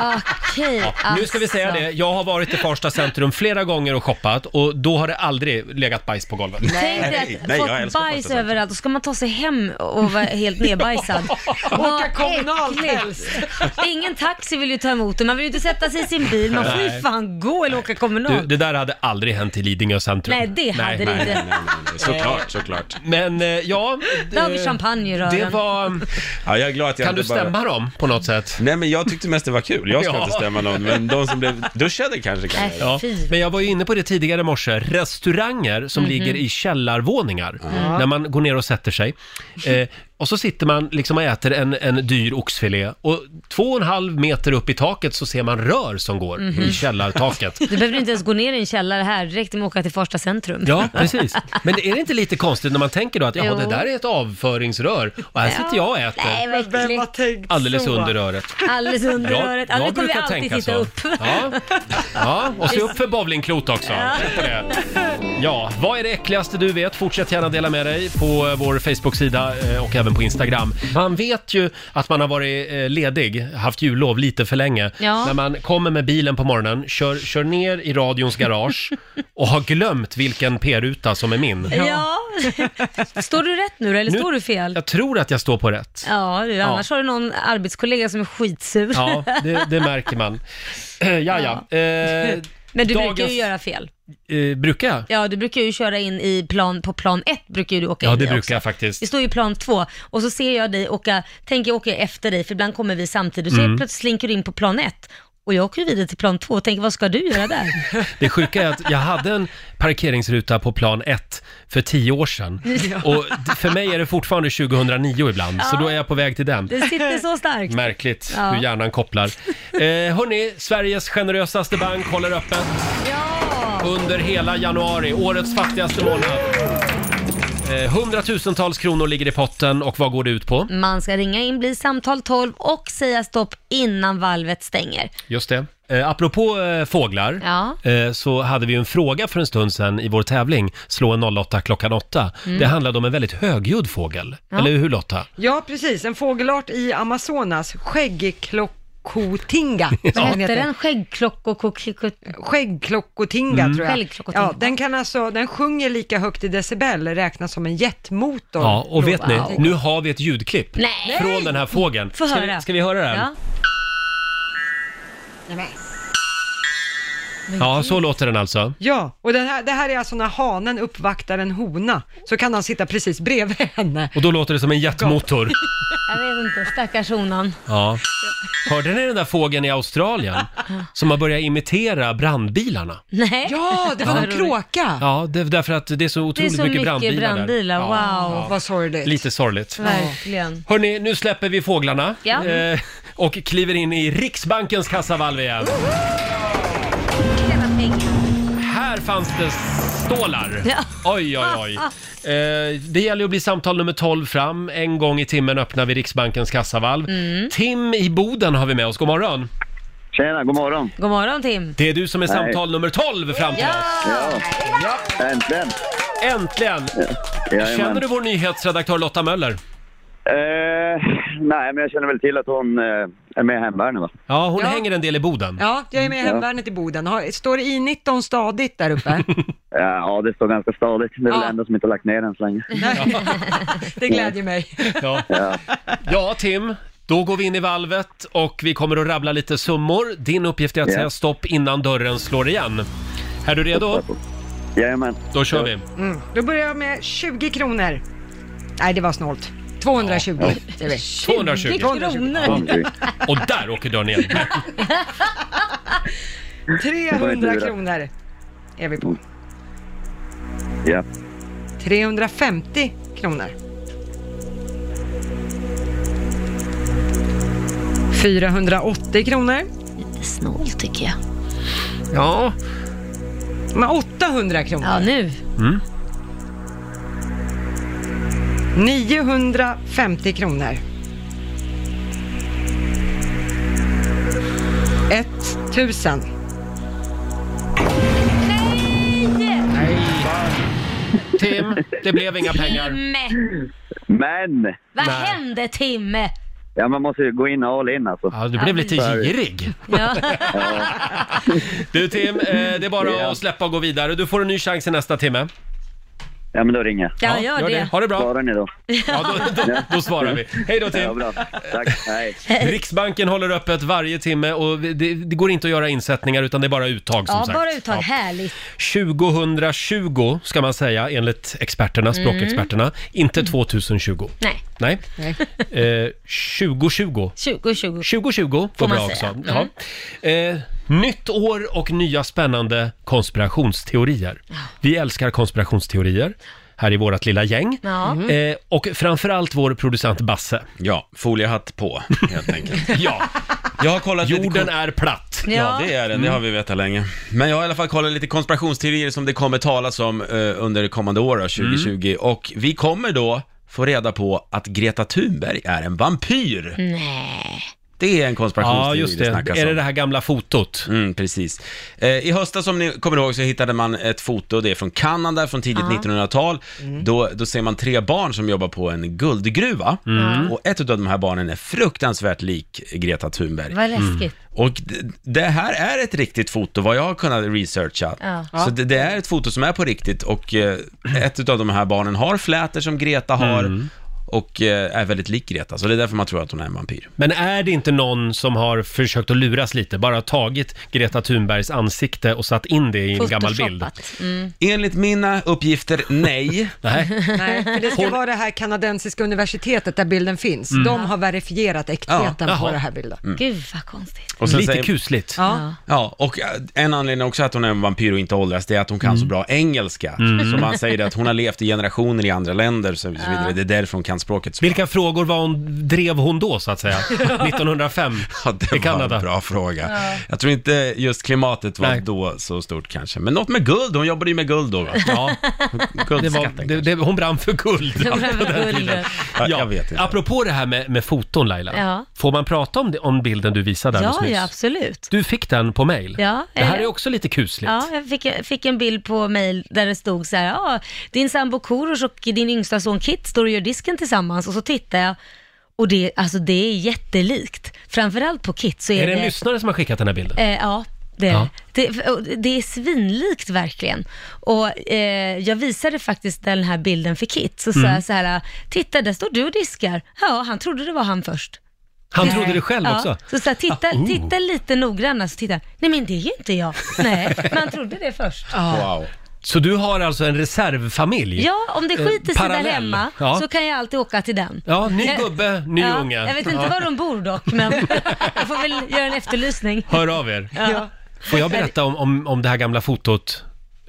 Speaker 2: Okej,
Speaker 1: Nu ska vi säga
Speaker 2: alltså.
Speaker 1: det, jag har varit i Farsta centrum flera gånger och shoppat och då har det aldrig legat bajs på golvet.
Speaker 2: Tänk dig att fått bajs överallt och ska man ta sig hem och vara helt nedbajsad. Åka kommunalt helst. Ingen taxi vill ju ta emot det. Man vill ju inte sätta sig i sin bil. Man får ju
Speaker 1: Nej.
Speaker 2: fan gå eller åka
Speaker 1: Du,
Speaker 2: kommunalt.
Speaker 1: det där hade aldrig hänt i Lidingö centrum.
Speaker 2: Nej, det hade det inte. Nej, nej,
Speaker 7: Såklart, såklart.
Speaker 1: Men eh, ja... eh,
Speaker 2: Då har vi champagne i rören.
Speaker 1: Det var...
Speaker 7: Ja, jag är glad att jag
Speaker 1: Kan
Speaker 7: inte
Speaker 1: du
Speaker 7: bara...
Speaker 1: stämma dem på något sätt?
Speaker 7: Nej, men jag tyckte mest det var kul. Jag ska
Speaker 1: Ja.
Speaker 7: inte stämma någon, men de som blev duschade kanske kan
Speaker 2: Äh,
Speaker 7: göra det.
Speaker 1: Ja. Men jag var ju inne på det tidigare i morse, restauranger som
Speaker 7: Mhm.
Speaker 1: ligger i källarvåningar,
Speaker 7: Ja.
Speaker 1: när man går ner och sätter sig. Eh, och så sitter man liksom och äter en, en dyr oxfilé och två och en halv meter upp i taket så ser man rör som går
Speaker 2: Mhm.
Speaker 1: i källartaket.
Speaker 2: Du behöver inte ens gå ner i en källare här. Det räckte med att åka till Farsta centrum.
Speaker 1: Ja, precis. Men är det inte lite konstigt när man tänker då att ja,
Speaker 2: Jo.
Speaker 1: det där är ett avföringsrör och här sitter jag och
Speaker 2: Nej,
Speaker 1: äter
Speaker 2: vad äckligt.
Speaker 1: alldeles under röret.
Speaker 2: Alldeles under
Speaker 1: Jag-
Speaker 2: röret. Ja,
Speaker 1: jag
Speaker 2: det kommer vi
Speaker 1: brukar
Speaker 2: alltid
Speaker 1: tänka
Speaker 2: titta
Speaker 1: så.
Speaker 2: upp.
Speaker 1: Ja. Ja, och se upp för bowlingklot också. Tänk på det. Ja, vad är det äckligaste du vet? Fortsätt gärna dela med dig på vår Facebook-sida eh, och även morgonen på Instagram. Man vet ju att man har varit eh, ledig, haft jullov lite för länge.
Speaker 14: Ja.
Speaker 1: När man kommer med bilen på morgonen, kör, kör ner i radions garage och har glömt vilken p-ruta som är min.
Speaker 2: Ja. Står du rätt nu då, eller
Speaker 1: Nu-
Speaker 2: står du fel?
Speaker 1: Jag tror att jag står på rätt.
Speaker 2: Ja, du,
Speaker 1: Ja.
Speaker 2: annars har du någon arbetskollega som är skitsur.
Speaker 1: Ja, det, det märker man. Eh, Ja, ja. Eh,
Speaker 2: Men du brukar
Speaker 1: dagens-
Speaker 2: ju göra fel.
Speaker 1: Eh, brukar jag?
Speaker 2: Ja, du brukar ju köra in i plan, på plan ett brukar ju du åka
Speaker 1: Ja,
Speaker 2: in
Speaker 1: det
Speaker 2: i
Speaker 1: brukar
Speaker 2: också.
Speaker 1: jag faktiskt.
Speaker 2: Vi står ju i plan två och så ser jag dig åka, tänker jag åker efter dig för ibland kommer vi samtidigt. Så
Speaker 1: Mm.
Speaker 2: jag plötsligt slinker du in på plan ett och jag åker ju vidare till plan två och tänker vad ska du göra där?
Speaker 1: Det sjuka är att jag hade en parkeringsruta på plan 1 för tio år sedan. Och d- för mig är det fortfarande 2009 ibland, så då är jag på väg till den.
Speaker 2: Det sitter så starkt.
Speaker 1: Märkligt
Speaker 2: Ja.
Speaker 1: hur hjärnan kopplar. Eh, hörni, Sveriges generösaste bank håller öppet under hela januari, årets fattigaste månad. Eh, hundratusentals kronor ligger i potten och vad går det ut på?
Speaker 2: Man ska ringa in, bli samtal 12 och säga stopp innan valvet stänger.
Speaker 1: Just det. Eh, apropå eh, fåglar,
Speaker 2: Ja.
Speaker 1: eh, så hade vi ju en fråga för en stund sedan i vår tävling Slå en 08 klockan 8.
Speaker 3: Mm.
Speaker 1: Det handlade om en väldigt högljudd fågel.
Speaker 3: Ja.
Speaker 1: Eller hur Lotta?
Speaker 3: Ja, precis. En fågelart i Amazonas, skäggklockotinga.
Speaker 2: Vad hette den? Skäggklockokotinga?
Speaker 3: Skäggklockotinga
Speaker 2: Mm.
Speaker 3: tror jag.
Speaker 2: Skäggklockotinga.
Speaker 3: Ja, den, kan alltså, den sjunger lika högt i decibel, räknas som en jetmotor.
Speaker 1: Ja, och vet ni,
Speaker 3: Wow.
Speaker 1: nu har vi ett ljudklipp
Speaker 3: Nej!
Speaker 1: från den här fågeln.
Speaker 3: Få
Speaker 1: Ska vi,
Speaker 3: höra.
Speaker 1: ska vi höra den? Ja. så låter den alltså.
Speaker 3: Ja, och den här, det här är alltså när hanen uppvaktar en hona, så kan han sitta precis bredvid henne.
Speaker 1: Och då låter det som en jetmotor.
Speaker 2: Jag vet inte, stackars honan.
Speaker 1: Ja. Hörde ni den där fågeln i Australien som har börjat imitera brandbilarna?
Speaker 2: Nej.
Speaker 3: Ja, det var
Speaker 1: Ja.
Speaker 3: en kråka.
Speaker 1: Ja, det, därför att det är så
Speaker 2: Det är
Speaker 1: otroligt
Speaker 2: så mycket brandbilar,
Speaker 1: där. Ja,
Speaker 2: wow.
Speaker 1: ja. Lite sorgligt.
Speaker 2: Verkligen.
Speaker 1: Hörni, nu släpper vi fåglarna
Speaker 2: Ja.
Speaker 1: eh, och kliver in i Riksbankens kassavalv igen. Här fanns det stålar.
Speaker 2: Ja.
Speaker 1: Oj, oj, oj. Eh, det gäller att bli samtal nummer 12 fram. En gång i timmen öppnar vi Riksbankens kassavalv.
Speaker 2: Mm.
Speaker 1: Tim i Boden har vi med oss. God morgon.
Speaker 15: Tjena, god morgon.
Speaker 2: God morgon Tim.
Speaker 1: Det är du som är
Speaker 15: Hej.
Speaker 1: samtal nummer 12 fram till oss.
Speaker 15: Äntligen!
Speaker 1: Äntligen!
Speaker 15: jajamän.
Speaker 1: Känner du vår nyhetsredaktör Lotta Möller?
Speaker 15: Eh, nej, men jag känner väl till att hon eh, är med i hemvärnet va?
Speaker 1: Ja, hon hänger en del i Boden.
Speaker 3: Ja, jag är med
Speaker 15: Ja.
Speaker 3: i Hemvärnet i Boden. Har, står det I19 stadigt där uppe?
Speaker 15: Ja, det står ganska stadigt. Det är väl
Speaker 3: Ja.
Speaker 15: det enda som inte har lagt ner den så länge.
Speaker 3: Det glädjer mig.
Speaker 1: Ja. ja, Tim. Då går vi in i valvet och vi kommer att rabbla lite summor. Din uppgift är att
Speaker 15: Ja.
Speaker 1: säga stopp innan dörren slår igen. Är du redo?
Speaker 15: Jajamän.
Speaker 1: Då kör vi.
Speaker 3: Mm. Då börjar jag med 20 kronor. Nej, det var snålt. 220 säger vi.
Speaker 1: 220.
Speaker 3: 220.
Speaker 1: Ja. Och där åker dörren igen.
Speaker 3: 300 kronor är vi på.
Speaker 15: Ja.
Speaker 3: 350 kronor. 480 kronor. Lite
Speaker 2: snålt tycker jag.
Speaker 1: Ja.
Speaker 3: Men 800 kronor. Ja,
Speaker 2: nu.
Speaker 1: Mm.
Speaker 3: 950 kronor. 1000.
Speaker 1: Nej! Tim, det blev inga pengar.
Speaker 2: Timme!
Speaker 15: Men!
Speaker 2: Vad hände Timme?
Speaker 15: Ja, man måste ju gå in all in alltså.
Speaker 1: Ja, du blev lite girig.
Speaker 2: Ja.
Speaker 1: Du Tim, eh, det är bara att släppa och gå vidare. Du får en ny chans i nästa timme.
Speaker 15: Ja, men då ringer jag.
Speaker 2: Ja, gör det.
Speaker 1: Ha det bra.
Speaker 15: Svarar ni då?
Speaker 1: Ja, då, då, då svarar vi. Hej då Tim!
Speaker 15: Ja, bra. Tack, hej.
Speaker 1: Riksbanken håller öppet varje timme och det, det går inte att göra insättningar utan det är bara uttag som
Speaker 2: Ja,
Speaker 1: sagt.
Speaker 2: bara uttag. Härligt.
Speaker 1: 2020 ska man säga enligt experterna,
Speaker 2: Mm.
Speaker 1: språkexperterna. Inte 2020.
Speaker 2: Nej.
Speaker 1: Nej. Eh, 2020.
Speaker 2: 2020.
Speaker 1: 2020 går
Speaker 2: Får man
Speaker 1: bra också.
Speaker 2: säga. Mm.
Speaker 1: Ja. Eh, nytt år och nya spännande konspirationsteorier. Vi älskar konspirationsteorier här i vårt lilla gäng.
Speaker 7: Ja.
Speaker 2: Mm.
Speaker 7: Mhm.
Speaker 1: Eh, och framförallt vår producent Basse.
Speaker 7: Ja, foliehatt på helt enkelt.
Speaker 1: ja.
Speaker 7: Jag har kollat
Speaker 1: Jorden är platt.
Speaker 7: Ja. det är den. Det har
Speaker 1: mm.
Speaker 7: vi vetat länge. Men jag har i alla fall kollat lite konspirationsteorier som det kommer talas om eh, under kommande år,
Speaker 1: Mm.
Speaker 7: då, 2020. Och vi kommer då få reda på att Greta Thunberg är en vampyr.
Speaker 2: Nej.
Speaker 7: Det är en konspirationsteori
Speaker 1: Mm. Ja, just det.
Speaker 7: snackas
Speaker 1: Är det
Speaker 7: om.
Speaker 1: det här gamla fotot?
Speaker 7: Mm, precis. Eh, I höstas, som ni kommer ihåg, så hittade man ett foto, det är från Kanada, från tidigt
Speaker 1: Ja.
Speaker 7: 1900-tal.
Speaker 1: Mm.
Speaker 7: Då, då ser man tre barn som jobbar på en guldgruva.
Speaker 1: Mm.
Speaker 7: Och ett av de här barnen är fruktansvärt lik Greta Thunberg.
Speaker 2: Vad läskigt.
Speaker 7: Och d- det här är ett riktigt foto, vad jag har kunnat researcha.
Speaker 2: Ja.
Speaker 7: Så det, det är ett foto som är på riktigt och eh, ett av de här barnen har flätor som Greta har och eh, är väldigt lik Greta. Så det är därför man tror att hon är en vampyr.
Speaker 1: Men är det inte någon som har försökt att luras lite, bara tagit Greta Thunbergs ansikte och satt in det i en gammal bild?
Speaker 2: Mm.
Speaker 7: Enligt mina uppgifter, nej.
Speaker 1: nej.
Speaker 3: Nej, för det ska
Speaker 1: Hon-
Speaker 3: vara det här kanadensiska universitetet där bilden finns.
Speaker 7: Mm.
Speaker 3: De har verifierat äktheten på
Speaker 7: Ja, jaha.
Speaker 3: den här bilden.
Speaker 7: Mm.
Speaker 2: Gud vad konstigt.
Speaker 7: Och sen
Speaker 1: Lite
Speaker 7: säger-
Speaker 1: kusligt.
Speaker 3: Ja.
Speaker 7: Ja, och eh, en anledning också att hon är en vampyr och inte åldras, det är att hon kan så bra engelska.
Speaker 1: Mm.
Speaker 7: Så man säger det att hon har levt i generationer i andra länder, så, så vidare.
Speaker 1: Ja.
Speaker 7: Det är därför hon kan språket.
Speaker 1: Vilka frågor var hon, drev hon då så att säga? 1905 i Kanada?
Speaker 7: var en bra fråga.
Speaker 1: Ja.
Speaker 7: Jag tror inte just klimatet var
Speaker 1: Nej.
Speaker 7: då så stort kanske. Men något med guld, hon jobbade ju med guld då va?
Speaker 1: Ja. Det var,
Speaker 7: Guldskatten.
Speaker 1: det, det, hon brann för guld.
Speaker 7: Hon brann för
Speaker 1: På den
Speaker 7: guld.
Speaker 1: tiden.
Speaker 7: Ja,
Speaker 1: Ja,
Speaker 7: jag vet inte.
Speaker 1: Apropå det här med, med foton Laila.
Speaker 2: Ja.
Speaker 1: Får man prata om, det, om bilden du visade alldeles
Speaker 2: Ja,
Speaker 1: nyss?
Speaker 2: ja, absolut.
Speaker 1: Du fick den på mail.
Speaker 2: Ja,
Speaker 1: det här
Speaker 2: eh,
Speaker 1: är också lite kusligt.
Speaker 2: Ja, jag fick, jag fick en bild på mail där det stod så här, ja, din sambo Korosh och din yngsta son Kit står och gör disken tillsammans och så tittar jag och det, alltså det är jättelikt. Framförallt på Kit så är,
Speaker 1: är det en lyssnare som har skickat den här bilden?
Speaker 2: Eh, ja, det är
Speaker 1: Ja.
Speaker 2: det. Det, och det är svinlikt verkligen. Och eh, jag visade faktiskt den här bilden för Kit, så sa
Speaker 1: Mm.
Speaker 2: jag så här, titta där står du och diskar. Ja, han trodde det var han först.
Speaker 1: Han trodde det själv
Speaker 2: Eh, ja,
Speaker 1: också?
Speaker 2: Så, så här, titta,
Speaker 1: Ah, oh.
Speaker 2: titta lite noggrannare, så tittar han, nej men det är ju inte jag. Nej, men han trodde det först.
Speaker 1: Wow. Så du har alltså en reservfamilj?
Speaker 2: Ja, om det
Speaker 1: Eh,
Speaker 2: skiter sig där
Speaker 1: parallell.
Speaker 2: hemma
Speaker 1: Ja.
Speaker 2: så kan jag alltid åka till den.
Speaker 1: Ja, ny
Speaker 2: Eh,
Speaker 1: gubbe, ny
Speaker 2: ja,
Speaker 1: unge.
Speaker 2: Jag vet
Speaker 1: Ja.
Speaker 2: inte var de bor dock, men jag får väl göra en efterlysning.
Speaker 1: Hör av er.
Speaker 2: Ja.
Speaker 1: Får jag berätta om, om, om det här gamla fotot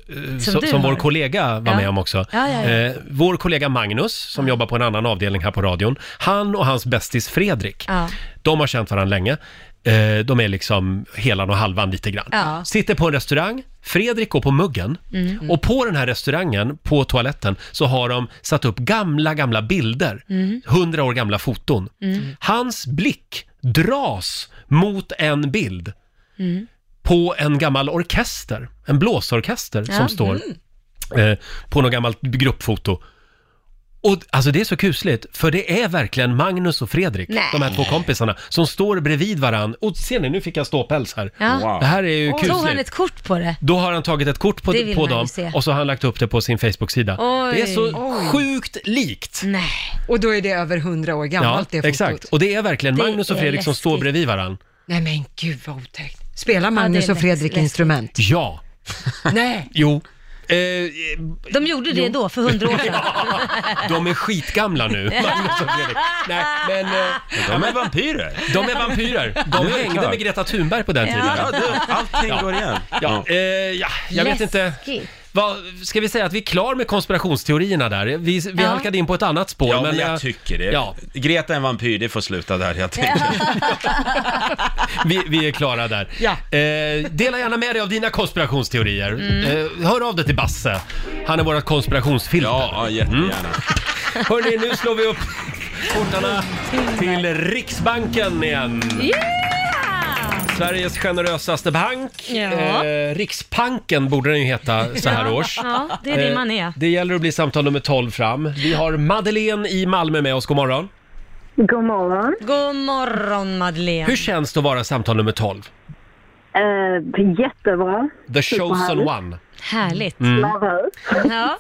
Speaker 1: eh, som,
Speaker 2: du
Speaker 1: som vår
Speaker 2: har.
Speaker 1: kollega var
Speaker 2: Ja.
Speaker 1: med om också.
Speaker 2: Ja, ja, ja.
Speaker 1: Eh, vår kollega Magnus, som jobbar på en annan avdelning här på radion, han och hans bästis Fredrik,
Speaker 2: Ja.
Speaker 1: de har känt varandra länge. Eh, de är liksom helan och halvan lite grann.
Speaker 2: Ja.
Speaker 1: Sitter på en restaurang, Fredrik går på muggen
Speaker 2: Mm.
Speaker 1: och på den här restaurangen, på toaletten, så har de satt upp gamla, gamla bilder.
Speaker 2: Mm.
Speaker 1: Hundra år gamla foton.
Speaker 2: Mm.
Speaker 1: Hans blick dras mot en bild
Speaker 2: Mm.
Speaker 1: på en gammal orkester, en blåsorkester
Speaker 2: Ja. Mm.
Speaker 1: som står eh, på något gammalt gruppfoto. Och alltså det är så kusligt, för det är verkligen Magnus och Fredrik,
Speaker 2: Nej.
Speaker 1: de här två kompisarna, som står bredvid varann. Och ser ni, nu fick jag ståpäls här.
Speaker 2: Ja.
Speaker 1: Det här är ju
Speaker 2: Tog han
Speaker 1: kusligt.
Speaker 2: ett kort på det?
Speaker 1: Då har han tagit ett kort på,
Speaker 2: Det vill
Speaker 1: på
Speaker 2: man ju
Speaker 1: dem
Speaker 2: se.
Speaker 1: och så har han lagt upp det på sin Facebook-sida.
Speaker 2: Oj.
Speaker 1: Det är så
Speaker 2: Oj. Mm.
Speaker 1: sjukt likt.
Speaker 2: Nej.
Speaker 3: Och då är det över hundra år gammalt det fotot.
Speaker 1: exakt. Och det är verkligen
Speaker 3: Det
Speaker 1: Magnus och
Speaker 3: är
Speaker 1: Fredrik som
Speaker 3: läskigt.
Speaker 1: står bredvid varann.
Speaker 3: Nej men gud vad otäckt. Spelar
Speaker 2: det är
Speaker 3: Magnus och
Speaker 2: lätt-
Speaker 3: Fredrik
Speaker 2: läskigt.
Speaker 3: instrument?
Speaker 1: Ja.
Speaker 3: Nej.
Speaker 1: Jo. Eh,
Speaker 2: De gjorde det då, för hundra år sedan.
Speaker 1: de är skitgamla nu, Magnus och Fredrik. Nej, men... eh,
Speaker 7: De är vampyrer.
Speaker 1: De är vampyrer.
Speaker 7: Det är
Speaker 1: De hängde
Speaker 7: klart.
Speaker 1: med Greta Thunberg på den
Speaker 7: Ja.
Speaker 1: tiden.
Speaker 7: Ja, du, allting går igen.
Speaker 1: Ja, eh, ja jag vet inte.
Speaker 2: Läskigt.
Speaker 1: Vad, ska vi säga att vi är klar med konspirationsteorierna där? Vi, vi
Speaker 2: Ja.
Speaker 1: halkade in på ett annat spår.
Speaker 7: Ja, men jag
Speaker 1: eh,
Speaker 7: tycker det.
Speaker 1: Ja,
Speaker 7: Greta är en vampyr, det får sluta där helt enkelt.
Speaker 1: vi, vi är klara där. Eh, dela gärna med dig av dina konspirationsteorier.
Speaker 7: Mm.
Speaker 1: Eh, hör av dig till Basse. Han är vårt konspirationsfilter. Ja, jättegärna.
Speaker 16: Mm.
Speaker 1: Hörni, nu slår vi upp portarna till Riksbanken igen. Sveriges generösaste bank.
Speaker 2: Ja.
Speaker 1: Eh, Riksbanken borde den ju heta så här års.
Speaker 2: Ja, det är det
Speaker 1: Eh,
Speaker 2: man är.
Speaker 1: Det gäller att bli samtal nummer 12 fram. Vi har Madeleine i Malmö med oss. God morgon.
Speaker 14: God morgon.
Speaker 2: God morgon Madeleine.
Speaker 1: Hur känns det att vara samtal nummer 12?
Speaker 14: Eh, jättebra.
Speaker 1: The chosen
Speaker 14: Superhärligt.
Speaker 1: one.
Speaker 2: Härligt.
Speaker 1: Mm.
Speaker 2: Ja.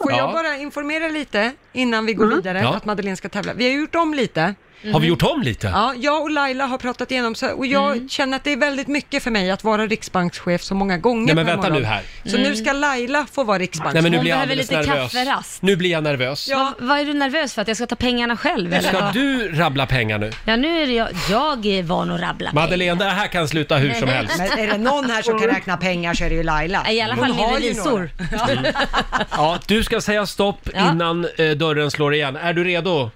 Speaker 3: Får jag
Speaker 1: Ja.
Speaker 3: bara informera lite innan vi går vidare
Speaker 1: Mm. Ja.
Speaker 3: att Madeleine ska tävla? Vi har gjort om lite.
Speaker 1: Har vi gjort om lite?
Speaker 3: Ja, jag och Laila har pratat igenom så, och jag
Speaker 1: Mm.
Speaker 3: känner att det är väldigt mycket för mig att vara riksbankschef så många gånger
Speaker 1: Nej, men
Speaker 3: per
Speaker 1: vänta
Speaker 3: morgon.
Speaker 1: nu här.
Speaker 3: Så
Speaker 1: Mm.
Speaker 3: nu ska Laila få vara riksbankschef.
Speaker 1: Nej men nu blir jag alldeles nervös. Nu blir jag nervös.
Speaker 2: Vad, vad är du nervös för? Att jag ska ta pengarna själv? Eller?
Speaker 1: Ska
Speaker 2: vad?
Speaker 1: du rabbla pengar nu?
Speaker 2: Ja, nu är det jag. Jag är van att rabbla
Speaker 1: Madeleine, det här kan sluta hur som helst.
Speaker 3: Men är det någon här som kan räkna pengar så är det ju Laila.
Speaker 2: I alla fall
Speaker 3: Hon
Speaker 2: min
Speaker 3: har ju
Speaker 2: revisor.
Speaker 1: Ja, du ska säga stopp
Speaker 2: Ja.
Speaker 1: innan eh, dörren slår igen. Är du redo?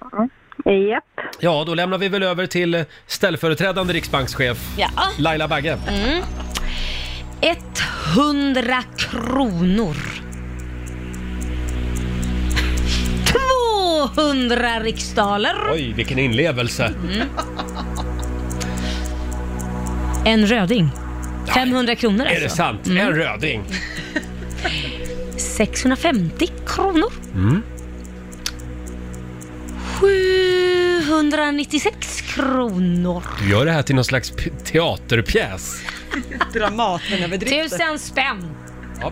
Speaker 14: Japp.
Speaker 1: Ja, då lämnar vi väl över till ställföreträdande riksbankschef
Speaker 2: Ja.
Speaker 1: Laila Bagge.
Speaker 2: Mm. 100 kronor. 200 riksdaler.
Speaker 1: Oj, vilken inlevelse.
Speaker 2: Mm. En röding. 500 kronor alltså.
Speaker 1: Är det sant? En röding?
Speaker 2: 650 kronor.
Speaker 1: Mm.
Speaker 2: 796 kronor.
Speaker 1: Du gör det här till någon slags p- teaterpjäs.
Speaker 2: Dramaten
Speaker 6: överdrifter.
Speaker 2: Tusen spänn.
Speaker 1: Ja.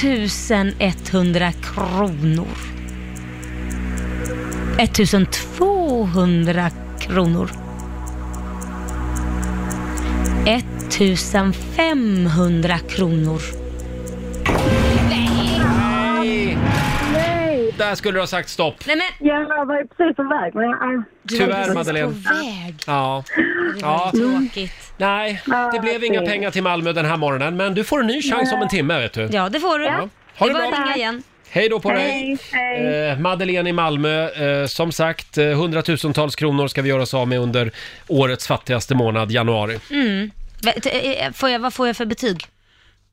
Speaker 2: 1100 kronor. 1200 kronor. 1500 kronor.
Speaker 1: Nej!
Speaker 14: Nej!
Speaker 1: Där skulle du ha sagt stopp.
Speaker 2: Nej
Speaker 14: men! Jag var ju precis på väg men jag...
Speaker 1: Tyvärr Madeleine. Ja. ja.
Speaker 2: Tråkigt.
Speaker 1: Nej, det blev inga pengar till Malmö den här morgonen, men du får en ny chans om en timme vet du.
Speaker 2: Ja, det får du.
Speaker 1: Ja.
Speaker 2: Det
Speaker 1: Ha
Speaker 2: är
Speaker 1: det
Speaker 2: bara
Speaker 1: bra.
Speaker 2: att ringa igen.
Speaker 1: Hej då på dig!
Speaker 2: Hej, hej.
Speaker 1: Eh, Madeleine i Malmö, eh, som sagt, eh, hundratusentals kronor ska vi göra oss av med under årets fattigaste månad, januari.
Speaker 2: Mm. Vet- eh, Får jag, vad får jag för betyg?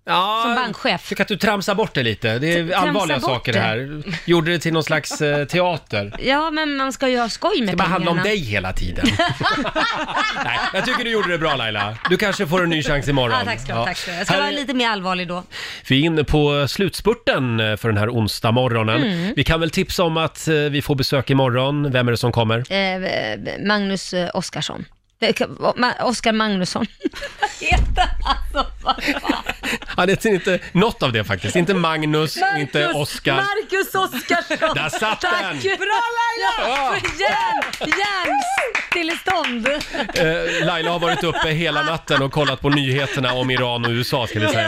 Speaker 1: Ja,
Speaker 2: Som bankchef?
Speaker 1: Tycker att du tramsar bort det lite. Det är
Speaker 2: Tramsa
Speaker 1: allvarliga
Speaker 2: bort
Speaker 1: saker
Speaker 2: det.
Speaker 1: det här. Gjorde det till någon slags eh, teater.
Speaker 2: Ja, men man ska ju ha skoj med
Speaker 1: Det bara handlar om
Speaker 2: pengarna.
Speaker 1: dig hela tiden. Nej, jag tycker du gjorde det bra Laila. Du kanske får en ny chans imorgon.
Speaker 2: Ja, tack ska du ha.
Speaker 1: Ja.
Speaker 2: Tack ska du ha. Jag ska
Speaker 1: Här
Speaker 2: vara
Speaker 1: är-
Speaker 2: lite mer allvarlig då.
Speaker 1: Vi är inne på slutspurten för den här onsdag morgonen.
Speaker 2: Mm.
Speaker 1: Vi kan väl tipsa om att eh, vi får besök imorgon. Vem är det som kommer?
Speaker 2: Eh, Magnus eh, Oskarsson. Eh, Ma- Oskar Magnusson.
Speaker 1: Han heter inte något av det faktiskt. Inte Magnus,
Speaker 2: Marcus,
Speaker 1: inte Oskar.
Speaker 2: Marcus Oskarsson!
Speaker 1: Där satt
Speaker 2: Tack.
Speaker 1: den!
Speaker 2: Bra Laila!
Speaker 1: Ja.
Speaker 2: För Järn, järnstillestånd!
Speaker 1: Eh, Laila har varit uppe hela natten och kollat på nyheterna om Iran och USA ska vi säga.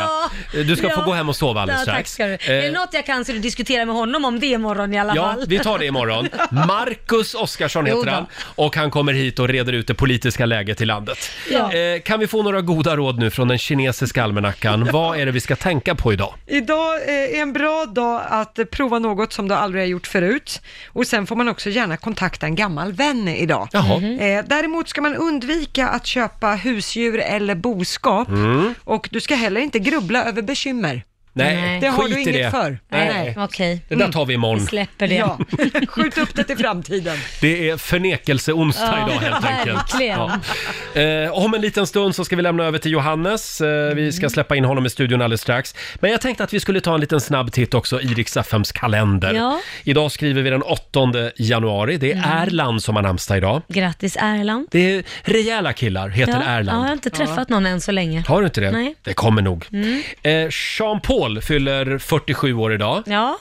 Speaker 2: Ja.
Speaker 1: Eh, Du ska få
Speaker 2: Ja.
Speaker 1: gå hem och sova alldeles
Speaker 2: ja, tack
Speaker 1: strax.
Speaker 2: ska du. Är det
Speaker 1: Eh,
Speaker 2: något jag kan så du diskuterar med honom om det imorgon i alla
Speaker 1: Ja,
Speaker 2: fall?
Speaker 1: vi tar det imorgon. Marcus Oskarsson
Speaker 2: Jo
Speaker 1: heter
Speaker 2: då.
Speaker 1: han och han kommer hit och reder ut det politiska läget i landet.
Speaker 3: Ja.
Speaker 1: Eh, kan vi få några goda råd nu från den kinesiska almanackan? Vad är det vi ska tänka på idag?
Speaker 3: Idag eh, är en bra dag att eh, prova något som du aldrig har gjort förut. Och sen får man också gärna kontakta en gammal vän idag.
Speaker 1: Jaha.
Speaker 3: Eh, Däremot ska man undvika att köpa husdjur eller boskap.
Speaker 1: Mm.
Speaker 3: Och du ska heller inte grubbla över bekymmer.
Speaker 1: Nej,
Speaker 3: Det har
Speaker 1: skit
Speaker 3: du
Speaker 1: i
Speaker 3: inget
Speaker 1: det.
Speaker 3: för.
Speaker 1: Nej.
Speaker 2: Okej.
Speaker 1: Det där tar vi imorgon.
Speaker 3: Mm.
Speaker 2: Vi släpper det.
Speaker 3: Ja. Skjut upp det till framtiden.
Speaker 1: Det är förnekelseonsdag
Speaker 3: Ja,
Speaker 1: idag helt enkelt.
Speaker 3: verkligen.
Speaker 1: Eh, om en liten stund så ska vi lämna över till Johannes. Eh, vi ska släppa in honom i studion alldeles strax. Men jag tänkte att vi skulle ta en liten snabb titt också i Rix FMs kalender.
Speaker 2: Ja.
Speaker 1: Idag skriver vi den 8 januari. Det är
Speaker 2: Mm.
Speaker 1: Erland som har namnsdag idag.
Speaker 2: Grattis Erland.
Speaker 1: Det är rejäla killar, heter
Speaker 2: ja. Ja,
Speaker 1: Erland.
Speaker 2: jag har inte träffat någon än så länge.
Speaker 1: Har du inte det?
Speaker 2: Nej.
Speaker 1: Det kommer nog.
Speaker 2: Mm.
Speaker 1: Eh, Jean Paul fyller 47 år idag.
Speaker 2: Ja.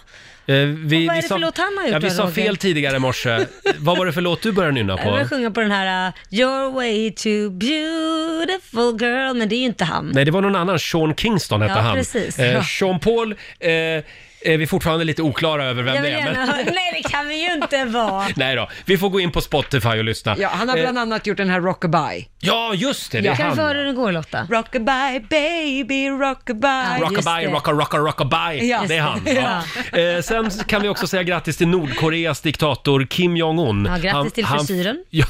Speaker 1: Eh, vi,
Speaker 2: vad är
Speaker 1: vi
Speaker 2: det
Speaker 1: sa-
Speaker 2: för låt han har
Speaker 1: ja,
Speaker 2: gjort
Speaker 1: Vi
Speaker 2: då,
Speaker 1: sa
Speaker 2: Roger?
Speaker 1: fel tidigare i morse. Vad var det för låt du började nynna
Speaker 2: Jag började
Speaker 1: på?
Speaker 2: sjunga på den här uh, “You're way too beautiful girl”, men det är ju inte han.
Speaker 1: Nej, det var någon annan. Sean Kingston hette
Speaker 2: Ja,
Speaker 1: han.
Speaker 2: precis.
Speaker 1: Eh,
Speaker 2: Ja.
Speaker 1: Sean Paul eh, är vi fortfarande lite oklara över vem
Speaker 2: Jag
Speaker 1: det
Speaker 2: vill
Speaker 1: är.
Speaker 2: gärna
Speaker 1: Men...
Speaker 2: höra. Nej, det kan vi ju inte vara.
Speaker 1: Nej då, vi får gå in på Spotify och lyssna.
Speaker 3: Ja, han har bland
Speaker 1: Eh,
Speaker 3: annat gjort den här Rockabye.
Speaker 1: ja just det, det är
Speaker 2: Kan vi
Speaker 1: han.
Speaker 2: få höra hur den går Lotta?
Speaker 3: Rockabye baby, rockabye.
Speaker 1: Rockabye, rocka, rocka, rockabye.
Speaker 3: Ja.
Speaker 1: Det är han.
Speaker 3: Ja.
Speaker 1: Ja. Eh, sen kan vi också säga grattis till Nordkoreas diktator Kim Jong-Un.
Speaker 2: Ja, grattis
Speaker 1: Han-
Speaker 2: till
Speaker 1: han-
Speaker 2: frisyren.
Speaker 1: Ja.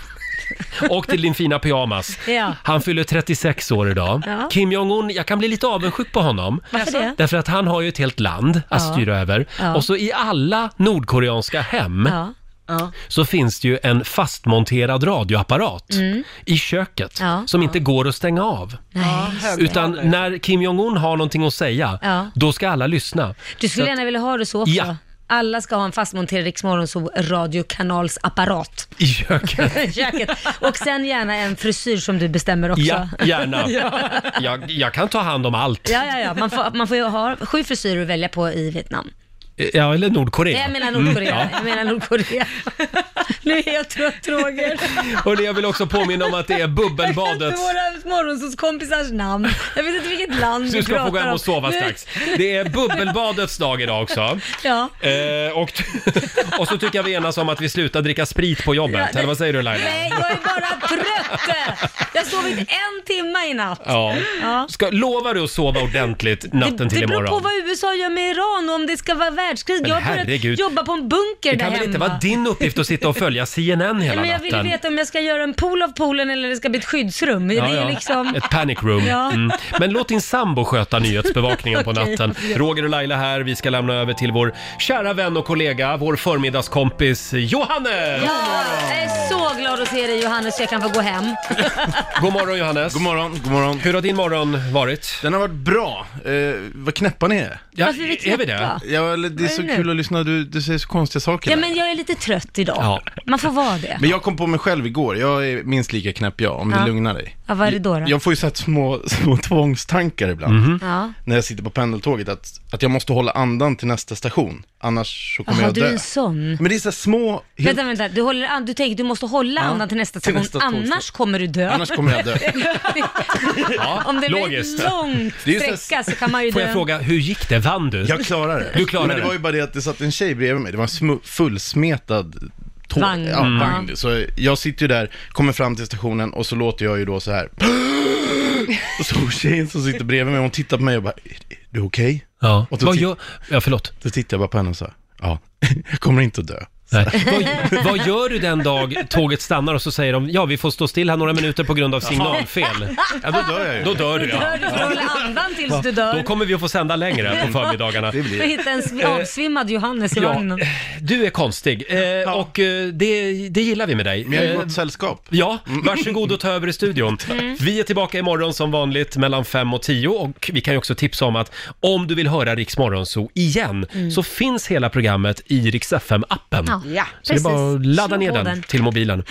Speaker 1: Och till din fina pyjamas.
Speaker 2: Ja.
Speaker 1: Han fyller 36 år idag.
Speaker 2: Ja.
Speaker 1: Kim Jong-Un, jag kan bli lite avundsjuk på honom.
Speaker 2: Varför det?
Speaker 1: Därför att han har ju ett helt land att
Speaker 2: Ja.
Speaker 1: styra över.
Speaker 2: Ja.
Speaker 1: Och så i alla nordkoreanska hem
Speaker 2: Ja. Ja.
Speaker 1: så finns det ju en fastmonterad radioapparat
Speaker 2: Mm.
Speaker 1: i köket
Speaker 2: Ja.
Speaker 1: som inte går att stänga av.
Speaker 2: Nej. just det.
Speaker 1: Utan när Kim Jong-Un har någonting att säga,
Speaker 2: Ja.
Speaker 1: då ska alla lyssna.
Speaker 2: Du skulle
Speaker 1: Så att-
Speaker 2: gärna vilja ha det så också.
Speaker 1: Ja.
Speaker 2: Alla ska ha en fastmonterad Riksmorgonsov radiokanalsapparat
Speaker 1: I köket.
Speaker 2: i köket. Och sen gärna en frisyr som du bestämmer också.
Speaker 1: Ja, gärna.
Speaker 2: ja.
Speaker 1: Jag, jag kan ta hand om allt.
Speaker 2: Ja, ja, ja. Man får, man får ju ha sju frisyrer att välja på i Vietnam.
Speaker 1: Ja, eller Nordkorea.
Speaker 2: Jag menar Nordkorea.
Speaker 1: Mm, ja.
Speaker 2: Jag menar Nordkorea. nu är jag trött Roger.
Speaker 1: Hörni, jag vill också påminna om att det är
Speaker 2: Det
Speaker 1: bubbelbadets...
Speaker 2: är Våra morgonsovskompisars namn. Jag vet inte vilket land
Speaker 1: Du ska
Speaker 2: pratar
Speaker 1: få gå hem
Speaker 2: om.
Speaker 1: och sova
Speaker 2: Nu-
Speaker 1: strax. Det är bubbelbadets dag idag också.
Speaker 2: Ja.
Speaker 1: Eh, och, och så tycker jag vi enas om att vi slutar dricka sprit på jobbet.
Speaker 2: Ja, det-
Speaker 1: Eller vad säger du Laila?
Speaker 2: Nej, jag är bara trött. Jag har sovit en timme i natt.
Speaker 1: Ja.
Speaker 2: Ja.
Speaker 1: Ska, lovar du att sova ordentligt natten
Speaker 2: det
Speaker 1: till
Speaker 2: beror på
Speaker 1: imorgon?
Speaker 2: vad USA gör med Iran och om det ska vara världskrig.
Speaker 1: Men
Speaker 2: Jag har börjat
Speaker 1: herregud.
Speaker 2: jobba på en bunker
Speaker 1: Det
Speaker 2: där
Speaker 1: kan väl
Speaker 2: hemma.
Speaker 1: inte vara din uppgift att sitta och följa CNN
Speaker 2: Nej,
Speaker 1: hela
Speaker 2: men jag vill
Speaker 1: natten?
Speaker 2: veta om jag ska göra en pool av poolen eller det ska bli ett skyddsrum.
Speaker 1: Ja,
Speaker 2: det är
Speaker 1: ja.
Speaker 2: liksom...
Speaker 1: Ett panic room.
Speaker 2: Ja.
Speaker 1: Mm. Men låt din sambo sköta nyhetsbevakningen på
Speaker 2: Okej.
Speaker 1: natten. Roger och Laila här, vi ska lämna över till vår kära vän och kollega, vår förmiddagskompis Johannes!
Speaker 2: Ja, jag är så glad att se dig Johannes så jag kan få gå hem.
Speaker 1: God morgon Johannes! God
Speaker 16: morgon, god morgon.
Speaker 1: Hur har din morgon varit?
Speaker 16: Den har varit bra. Eh, vad knäppa ni är.
Speaker 1: Ja,
Speaker 2: Varför är Alltså, vi
Speaker 16: är vi det?
Speaker 2: knäppa?
Speaker 16: Ja, eller det är
Speaker 2: Vad
Speaker 16: så
Speaker 2: är det?
Speaker 16: kul att lyssna. Du, du säger så konstiga saker.
Speaker 2: Ja,
Speaker 16: där.
Speaker 2: men jag är lite trött idag.
Speaker 16: Ja.
Speaker 2: Man får vara det.
Speaker 16: Men jag kom på mig själv igår. Jag är minst lika knäpp jag, om
Speaker 2: Ja.
Speaker 16: det lugnar dig.
Speaker 2: Ja, vad är det då? då?
Speaker 16: Jag får ju så här små, små tvångstankar ibland.
Speaker 2: Ja.
Speaker 16: När jag sitter på pendeltåget, att, att jag måste hålla andan till nästa station. Annars så kommer
Speaker 2: Jaha,
Speaker 16: jag
Speaker 2: du
Speaker 16: dö.
Speaker 2: är en sån.
Speaker 16: Men det är så här små...
Speaker 2: Vänta, vänta. Du, håller an... du tänker du måste hålla
Speaker 16: Ja,
Speaker 2: andan till nästa
Speaker 16: till
Speaker 2: station,
Speaker 16: nästa tågstopp.
Speaker 2: annars kommer du dö.
Speaker 16: Annars kommer jag dö.
Speaker 1: Ja,
Speaker 2: Om det blir
Speaker 1: logiskt.
Speaker 2: en lång
Speaker 16: Det är ju så här-
Speaker 2: sträcka så kan man ju
Speaker 1: Får
Speaker 2: dö.
Speaker 1: jag fråga, hur gick det? Vann du?
Speaker 16: Jag klarar det.
Speaker 1: Du klarar
Speaker 16: Men det
Speaker 1: det.
Speaker 16: var ju bara det att det satt en tjej bredvid mig. Det var en smu- fullsmetad tåg.
Speaker 2: Vagn.
Speaker 16: Ja,
Speaker 2: Mm.
Speaker 16: vagn. Så jag sitter ju där, kommer fram till stationen och så låter jag ju då så här. Och så tjejen som sitter bredvid mig, hon tittar på mig och bara, är du okej?
Speaker 1: Ja.
Speaker 16: Och då
Speaker 1: Vad
Speaker 16: tit-
Speaker 1: gör- Ja, förlåt.
Speaker 16: Då tittar jag bara på henne och sa, ja, jag kommer inte att dö.
Speaker 1: Nej. Vad, vad gör du den dag tåget stannar och så säger de ja vi får stå still här några minuter på grund av signalfel?
Speaker 16: Ja, då dör jag ju.
Speaker 1: Då dör du
Speaker 2: Du dör,
Speaker 1: ja.
Speaker 2: du får hålla andan tills
Speaker 1: Va?
Speaker 2: du dör.
Speaker 1: Då kommer vi att få sända längre på förmiddagarna.
Speaker 2: Du hittar en sv- avsvimmad Johannes i
Speaker 1: ja.
Speaker 2: vagnen.
Speaker 1: Du är konstig eh, och eh, det, det gillar vi med dig.
Speaker 16: Men jag är i
Speaker 1: Eh,
Speaker 16: gott sällskap. Mm.
Speaker 1: Ja, varsågod och ta över i studion. Vi är tillbaka imorgon som vanligt mellan 5 och 10 och vi kan ju också tipsa om att om du vill höra Rix Morgonzoo igen så finns hela programmet i Rix FM-appen.
Speaker 2: Mm. Ja,
Speaker 1: Så det är bara
Speaker 2: precis.
Speaker 1: att ladda
Speaker 2: Slå
Speaker 1: ner
Speaker 2: på
Speaker 1: den,
Speaker 2: den.
Speaker 1: till mobilen.